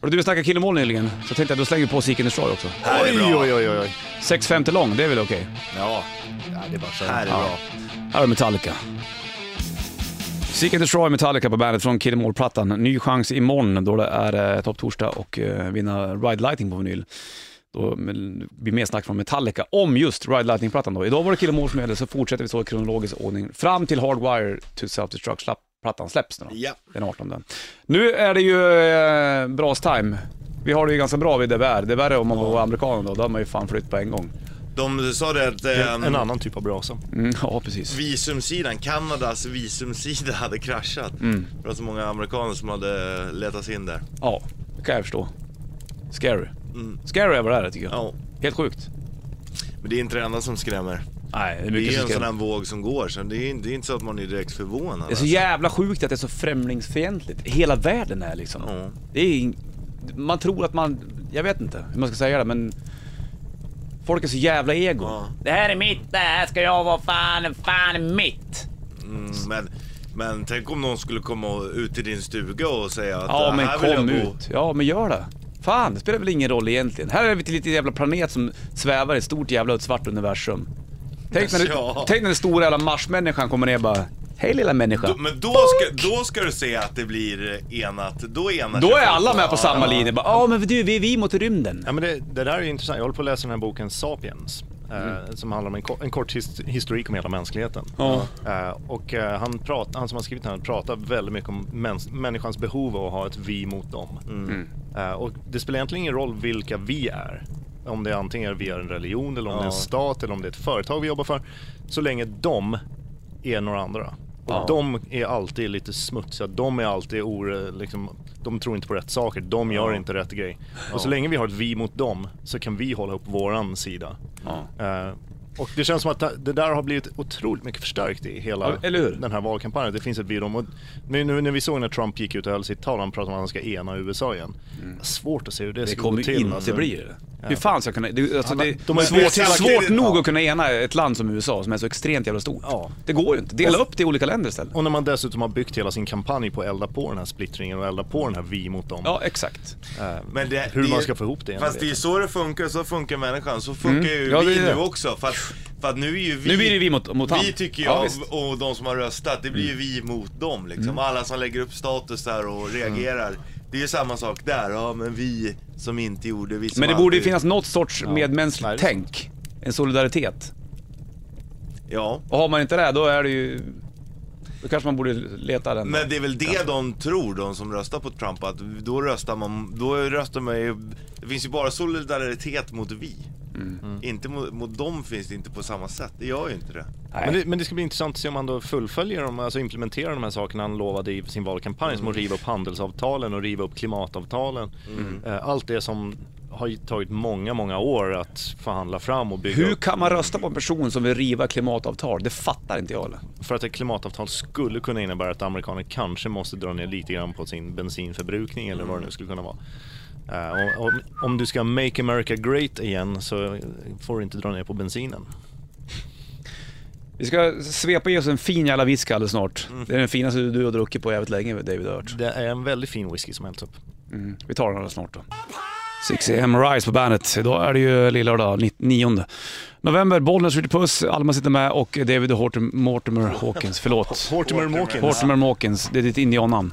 Och du, vi snackade Kill 'Em All nyligen, så tänkte jag då slänger vi på Seek and Destroy också. Oj, oj, oj, oj, oj. 6.50 lång, det är väl okej? Ja, ja det är bara så. Här är Ja. bra. Här har vi Metallica. Seek and Destroy Metallica på bandet från Kill 'Em All-plattan. Ny chans imorgon då det är eh, topptorsdag och eh, vinna Ride Lighting på vinyl. Då men, blir mer snack från Metallica om just Ride Lightning-plattan då. Idag var det Kill 'Em All som gällde, så fortsätter vi så i kronologisk ordning fram till Hardwire to Self-Destruct-plattan släpps nu då. Ja. Den 18. Nu är det ju eh, bras time. Vi har det ju ganska bra vid det värre. Det värre om man var amerikan då, då hade man ju fan flytt på en gång. De sa det att ehm, En, en annan typ av brasa. Mm, ja, precis. visumsidan, Kanadas visumsida hade kraschat. För att så många amerikaner som hade letat sig in där. Ja, det kan jag förstå. Scary. Scary är vad det är tycker jag. Mm. Ja, Helt sjukt. men det är inte det enda som skrämmer. Nej, det är Det är mycket ju som en sån skrämmer. här våg som går, så det är, det är inte så att man är direkt förvånad. Det är så jävla sjukt att det är så främlingsfientligt. Hela världen är liksom. Ja. Det är, ing- man tror att man, jag vet inte hur man ska säga det men Folk är så jävla ego. Ja. Det här är mitt, det här ska jag vara fan, fan är mitt. Mm, men, men tänk om någon skulle komma ut till din stuga och säga att Ja "Ah, men här vill kom jag bo." ut. Ja men gör det. Fan, det spelar väl ingen roll egentligen. Här är vi till lite jävla planet som svävar i ett stort jävla ett svart universum. Tänk när, du, Ja. tänk när den stora jävla marsmänniskan kommer ner och bara Hej lilla människa. Då- Men då ska, då ska du se att det blir enat. Då enar Då sig är folk. alla med på Ja, samma ja. linje. Bara, Ja men du, vi är vi mot rymden. Ja, men det, det där är ju intressant. Jag håller på att läsa den här boken Sapiens. Eh, som handlar om en, ko- en kort his- historik om hela mänskligheten. Mm. Ja. Eh, och eh, han, prat, han som har skrivit den här pratar väldigt mycket om mäns, människans behov av att ha ett vi mot dem. Eh, och det spelar egentligen ingen roll vilka vi är. Om det är antingen vi är en religion, eller om det är en stat, eller om det är ett företag vi jobbar för. Så länge de är några andra. Och de är alltid lite smutsiga, de är alltid or, liksom, de tror inte på rätt saker, de gör inte rätt grej. Och så länge vi har ett vi mot dem så kan vi hålla upp våran sida. Eh, och det känns som att det där har blivit otroligt mycket förstärkt i hela Ja, eller hur? den här valkampanjen. Det finns ett vi dem. Och nu, nu när vi såg när Trump gick ut och höll sitt tal, han pratade om att han ska ena USA igen. Svårt att se hur det, Mm. Det ska kommer gå till. ju inte alltså. bli det. Hur fan ska jag kunna... Det, alltså, det de har är ju svårt, precis- svårt nog Ja. att kunna ena ett land som USA som är så extremt jävla stort. Ja. Det går ju inte. Dela upp det i olika länder istället. Och när man dessutom har byggt hela sin kampanj på att elda på den här splittringen och elda på den här vi mot dem. Ja, exakt. Men det, Hur det, man ska få ihop det, jag Fast vet det är så det funkar, så funkar människan. Så funkar ju Mm. Ja, det vi är det. nu också. För att, för att nu är ju vi... Nu blir det vi mot, mot han. Vi tycker Ja, jag, visst. Mm. och de som har röstat, det blir ju vi mot dem liksom. Alla som lägger upp status där och reagerar. Mm. Det är ju samma sak där, ja men vi som inte gjorde, vi som Men det borde ju alltid- finnas något sorts Nej, medmänskligt det är tänk. En solidaritet. Ja. Och har man inte det, då är det ju... Då kanske man borde leta den. Men det är väl det de tror, de som röstar på Trump, att då röstar man, då röstar man ju, det finns ju bara solidaritet mot vi. Mm. Mm. Inte mot, mot dem finns det inte på samma sätt, det gör ju inte det. Men det, men det ska bli intressant att se om han då fullföljer dem, alltså implementerar de här sakerna han lovade i sin valkampanj, som att Mm. riva upp handelsavtalen och riva upp klimatavtalen. Mm. Eh, Allt det som har ju tagit många, många år att förhandla fram och bygga Hur upp. kan man rösta på en person som vill riva klimatavtal? Det fattar inte jag. Eller? För att ett klimatavtal skulle kunna innebära att amerikaner kanske måste dra ner lite grann på sin bensinförbrukning eller vad det nu skulle kunna vara. Eh, och om, om du ska make America great igen så får du inte dra ner på bensinen. Vi ska svepa i oss en fin jävla whisky alldeles snart. Det är den finaste du har druckit på jävligt länge, David Ört. Det är en väldigt fin whisky som hälls upp. Vi tar den alldeles snart då. 6am Rise på bandet. Idag är det ju lillördag, ni- 9 november. Bollnäs skjuter puss, Alma sitter med och David Hortem, Mortimer Hawkins. Förlåt. Mortimer Mawkins. Mortimer Hawkins, det är ditt indiannamn.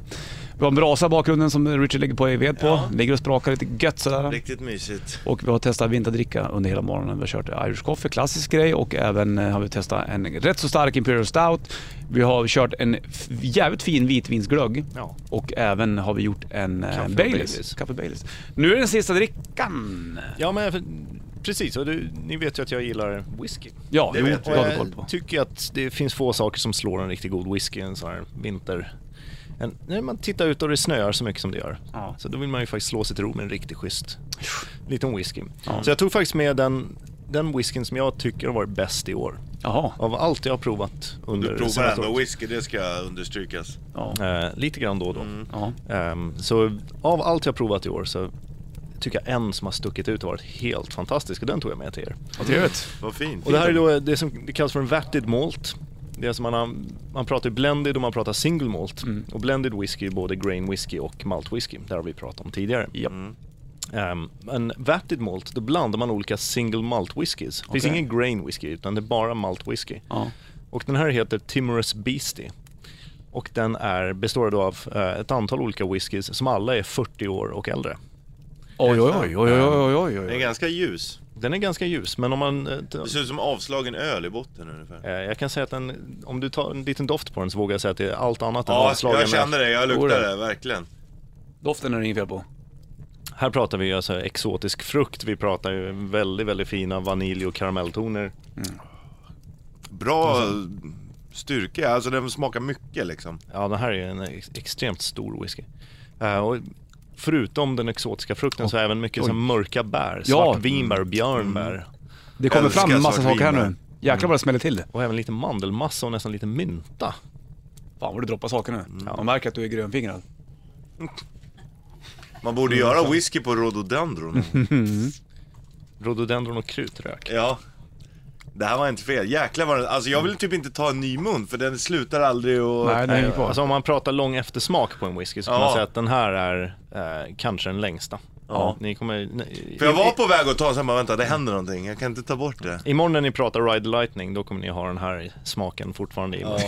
Vi har en brasa i bakgrunden som Richard ligger på i ved på. Ligger och sprakar lite gött sådär. Riktigt mysigt. Och vi har testat vinterdricka under hela morgonen. Vi har kört Irish Coffee, klassisk grej och även eh, har vi testat en rätt så stark Imperial Stout. Vi har kört en f- jävligt fin vitvinsglögg. Ja. Och även har vi gjort en eh, Kaffe och Baileys. Baileys. Kaffe Baileys. Nu är den sista drickan. Ja, men för- precis. Och du, ni vet ju att jag gillar whisky. Ja, det jo, vet det vi. har vi koll på. tycker att det finns få saker som slår en riktigt god whisky en sån här vinter... En, när man tittar ut och det snöar så mycket som det gör. Ja. Så då vill man ju faktiskt slå sig till ro med en riktigt schysst liten whisky. Så jag tog faktiskt med den, den whiskyn som jag tycker har varit bäst i år. Jaha. Av allt jag har provat under Du det provar senaste ändå året. whisky, det ska understrykas. Ja. Eh, lite grann då och då. Mm. Ja. Ehm, så av allt jag har provat i år så tycker jag en som har stuckit ut och varit helt fantastisk och den tog jag med till er. Vad trevligt. Vad fint. eh, Och det här är då det som det kallas för en vatted malt. Det är som man, an- man pratar ju blended och man pratar single malt. Mm. Och blended whisky är både grain whisky och malt whisky. Det har vi pratat om tidigare. Mm. Japp. Ehm, men vatted malt, då blandar man olika single malt whiskies. Det finns Okej. ingen grain whisky utan det är bara malt whisky. Ja. Och den här heter Timorous Beastie. Och den är, består då av eh, ett antal olika whiskies som alla är 40 år och äldre. Oj, oj, oj, oj, oj, oj, Den är oj. ganska ljus. Den är ganska ljus, men om man... eh, t- Det ser ut som avslagen öl i botten ungefär. eh, jag kan säga att den, om du tar en liten doft på den så vågar jag säga att det är allt annat än Ja, avslagen. jag känner det. Jag luktar Jodå. det, verkligen. Doften är det inget fel (laughs) på. Här pratar vi ju alltså exotisk frukt. Vi pratar ju väldigt, väldigt fina vanilj och karamelltoner. Bra Mm. styrka, alltså den smakar mycket liksom. Ja, den här är ju en ex- extremt stor whisky. Eh, och förutom den exotiska frukten så är även mycket så här mörka bär. Ja. Svart vinbär och björnbär. Mm. Det kommer Älskar fram massa svart saker här vin, nu. men- Jäklar vad det smäller till det. Och även lite mandelmassa och nästan lite mynta. Fan vad du droppar saker nu. Man märker att du är grönfingrad. Man borde Mm, göra whisky (laughs) på rhododendron. Rhododendron och krutrök. Ja. Det här var inte fel. Jäklar vad den... Alltså jag vill typ inte ta en ny mun för den slutar aldrig och... Nej, den hänger kvar. Alltså om man pratar lång eftersmak på en whisky så kan Eh, Ja. man säga att den här är eh, kanske den längsta. Ja. Ni kommer... Ni, För jag var på väg att ta en sen bara vänta, det händer någonting. Jag kan inte ta bort det. Imorgon när ni pratar Ride the Lightning, då kommer ni ha den här smaken fortfarande i munnen.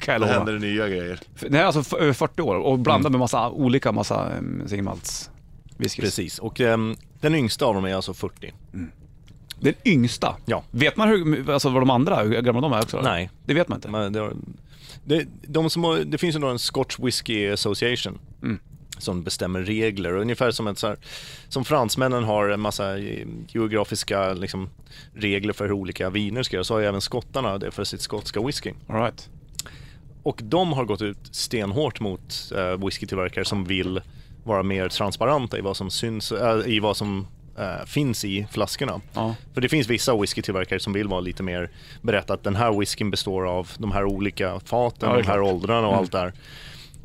Kan jag Då lova. händer det nya grejer. Det här är alltså f- över 40 år och blandar med massa olika massa um, singelmalts whiskys. Precis, och ehm, den yngsta av dem är alltså 40. Den yngsta. Ja. Vet man hur, alltså vad de andra, hur gamla de är också? Nej. Det vet man inte. Men det, har- det, de som har, det finns ju då en Scotch Whisky Association som bestämmer regler. Ungefär som, ett så här, som fransmännen har en massa eh, geografiska liksom, regler för hur olika viner ska göras, så har ju även skottarna det för sitt skotska whisky. All right. Och de har gått ut stenhårt mot eh, whiskytillverkare som vill vara mer transparenta i vad som, syns, eh, i vad som eh, finns i flaskorna. Ja. För det finns vissa whiskytillverkare som vill vara lite mer berätta att den här whiskyn består av de här olika faten, Ja, Mm. det är de här klart. åldrarna och allt det här.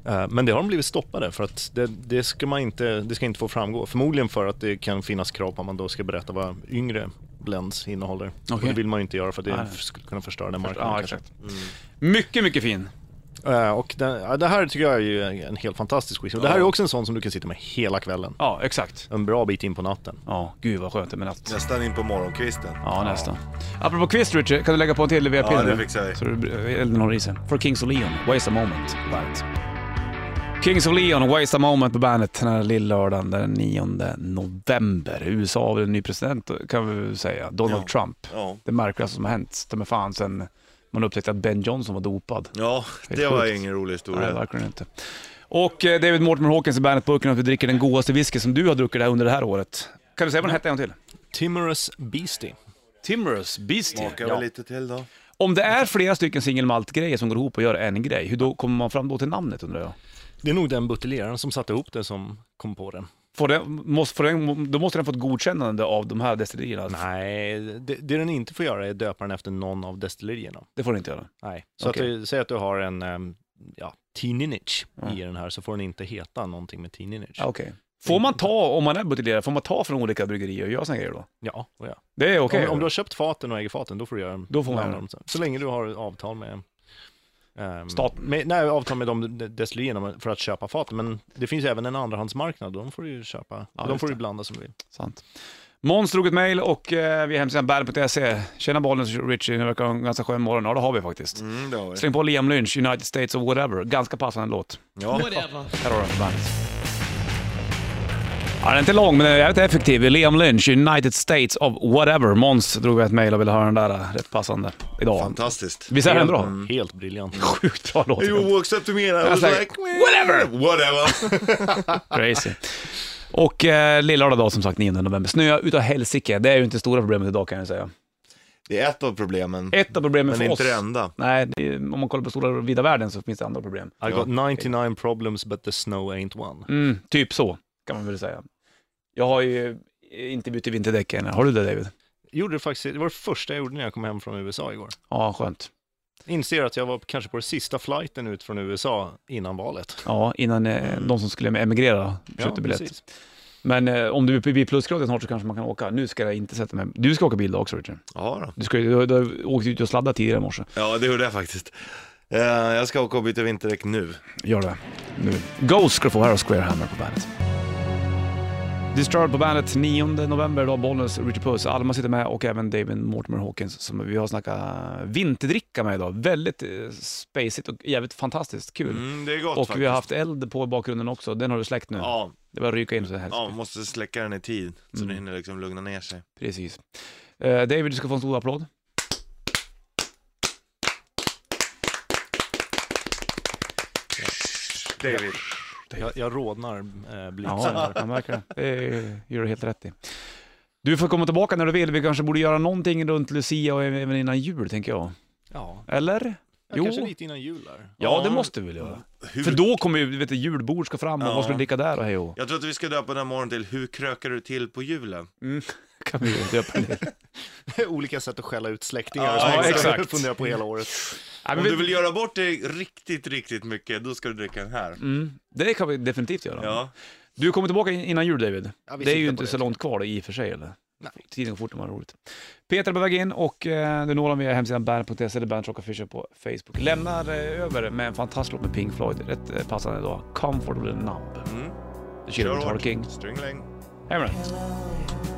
Eh, Men det har de blivit stoppade för att det, det, ska man inte, det ska inte få framgå. Förmodligen för att det kan finnas krav på att man då ska berätta vad yngre blends innehåller. Och Okej. det vill man ju inte göra för det Nej. skulle kunna förstöra den marknaden. Ja, kanske. exakt. Mycket, mycket fin. Eh, Och den, ja, det här tycker jag är ju en helt fantastisk whisky. Och det här är också en sån som du kan sitta med hela kvällen. Ja, exakt. En bra bit in på natten. Ja, gud vad skönt det är med natt. Nästan in på morgonkvisten. Ja, nästan. Apropå quiz, Richard, kan du lägga på en till VP? Ja, det fixar vi. Så du eh, elden håller i sig. For Kings of Leon, Waste a Moment på bandet. Kings of Leon, Waste a Moment på bandet den här lillördagen den 9 november. USA har väl en ny president kan vi väl säga, Donald Ja. Trump. Ja. Det märkligaste som har hänt, ta mig fan sen man upptäckte att Ben Johnson var dopad. Ja, Det det är var sjukt. ingen rolig Nej, historia. verkligen inte. Och eh, David Mortimer Hawkins i Bandet-burken att vi dricker den godaste whisky som du har druckit här under det här året. Kan du säga vad den hette en gång till? Timorous Beastie. Timorous Beastie. Smakar väl lite till då. Om det är flera stycken single malt-grejer som går ihop och gör en grej, hur då kommer man fram då till namnet undrar jag? Det är nog den buteljeraren som satte ihop det som kom på den. Får den, måste, får den, då måste den få ett godkännande av de här destillerierna? Nej, det, det den inte får göra är att döpa den efter någon av destillerierna. Det får den inte göra. Nej. Så Okej. att du, säg att du har en ehm, ja, Tininich i den här så får den inte heta någonting med Tininich. Ja, Ah, Okej. Får man ta, om man är buteljerare, får man ta från olika bryggerier och göra såna grejer då? Ja, och ja. Det är okej? Om, om du har köpt faten och äger faten, då får du göra Då får man namn göra dem. Så länge du har avtal med... ehm, Staten. Med, nej, avtal med de de- destillerierna för att köpa faten. Men det finns ju även en andrahandsmarknad, de får du ju köpa. Ja, de just får du det. blanda som du vill. Sant. Måns drog ett mejl och eh, vi är hemsidan bad.se. Tjena bollen Richie, nu verkar ha en ganska skön morgon. Ja, det har vi faktiskt. Mm, det har vi. Släng på Liam Lynch, United States of Whatever. Ganska passande låt. Ja. Här har du den på bandet. Ja, den är inte lång, men den är jävligt effektiv. Liam Lynch, United States of Whatever. Måns drog ett mejl och ville höra den där eh, rätt passande idag. Fantastiskt. Mm. Visst är den bra? Helt, helt briljant. Mm. (laughs) Sjukt bra låt. You walks up to me and I was like, like, whatever. Whatever. (laughs) (laughs) Crazy. Och eh, lillördag dag som sagt, 9 november. Snö utav helsike. Det är ju inte det stora problemet idag kan jag säga. Det är ett av problemen, Ett av problemen men för oss... inte det enda. Nej, det är, om man kollar på stora vida världen så finns det andra problem. I got 99 problems but the snow ain't one. Mm, typ så, kan man väl säga. Jag har ju inte bytt till vinterdäck än. Har du det David? Gjorde det, faktiskt, det var det första jag gjorde när jag kom hem från USA igår. Ja, skönt. Inser att jag var kanske på den sista flighten ut från USA innan valet. Ja, innan eh, de som skulle emigrera köpte biljett. precis. Men eh, om du är uppe vid plusgraden snart så kanske man kan åka. Nu ska jag inte sätta mig. Du ska åka bil då också Richard. Ja, då. Du, ska, ju- du, har- du har åkt ut och sladdat tidigare i morse. ja det gjorde jag faktiskt. Eh, jag ska åka och byta vinterdäck nu. Gör det. Nu. Ghost ska du få här och Square Hammer på bandet. Disturbed på bandet 9 november idag, Bollnäs, Richard Puss, Alma sitter med och även David Mortimer Hawkins som vi har snackat eh, vinterdricka med idag. Väldigt eh, spacigt och jävligt fantastiskt kul. Mm, det är gott och faktiskt. vi har haft eld på i bakgrunden också, den har du släckt nu. Ja, Det var ryka in så här. ja, måste släcka den i tid så Mm. den hinner liksom lugna ner sig. Precis. Eh, David, du ska få en stor applåd. David. Jag, jag rodnar eh, blygt. Ja, jag märker det. Det gör du helt rätt i. Du får komma tillbaka när du vill. Vi kanske borde göra någonting runt Lucia och även innan jul, tänker jag. Ja. Eller? Ja, Jo. Kanske lite innan jul där. Ja, det måste vi väl göra. Hur... För då kommer ju, vet du, julbord ska fram och Ja. vad ska vi dricka där och hej och Jag tror att vi ska döpa den här morgonen till Hur krökar du till på julen? kan vi döpa (laughs) det. Olika sätt att skälla ut släktingar Ja, som man exakt. funderar på hela året. Nej, Om men du vi, vill göra bort dig riktigt, riktigt mycket, då ska du dricka den här. mm, det kan vi definitivt göra. Ja. Du kommer tillbaka in- innan jul David. Ja, vi det är ju siktar inte på så det. långt kvar i och för sig eller? Nej. Tiden går fort när man har roligt. Peter är på väg in och eh, du når honom via hemsidan band.se eller Bandrock Official på Facebook. Lämnar eh, över med en fantastisk låt med Pink Floyd. Rätt eh, passande idag. Comfortable Numb. Mm. Det kör vi Kör hårt. King. Stringling. Hej med dig. Hello,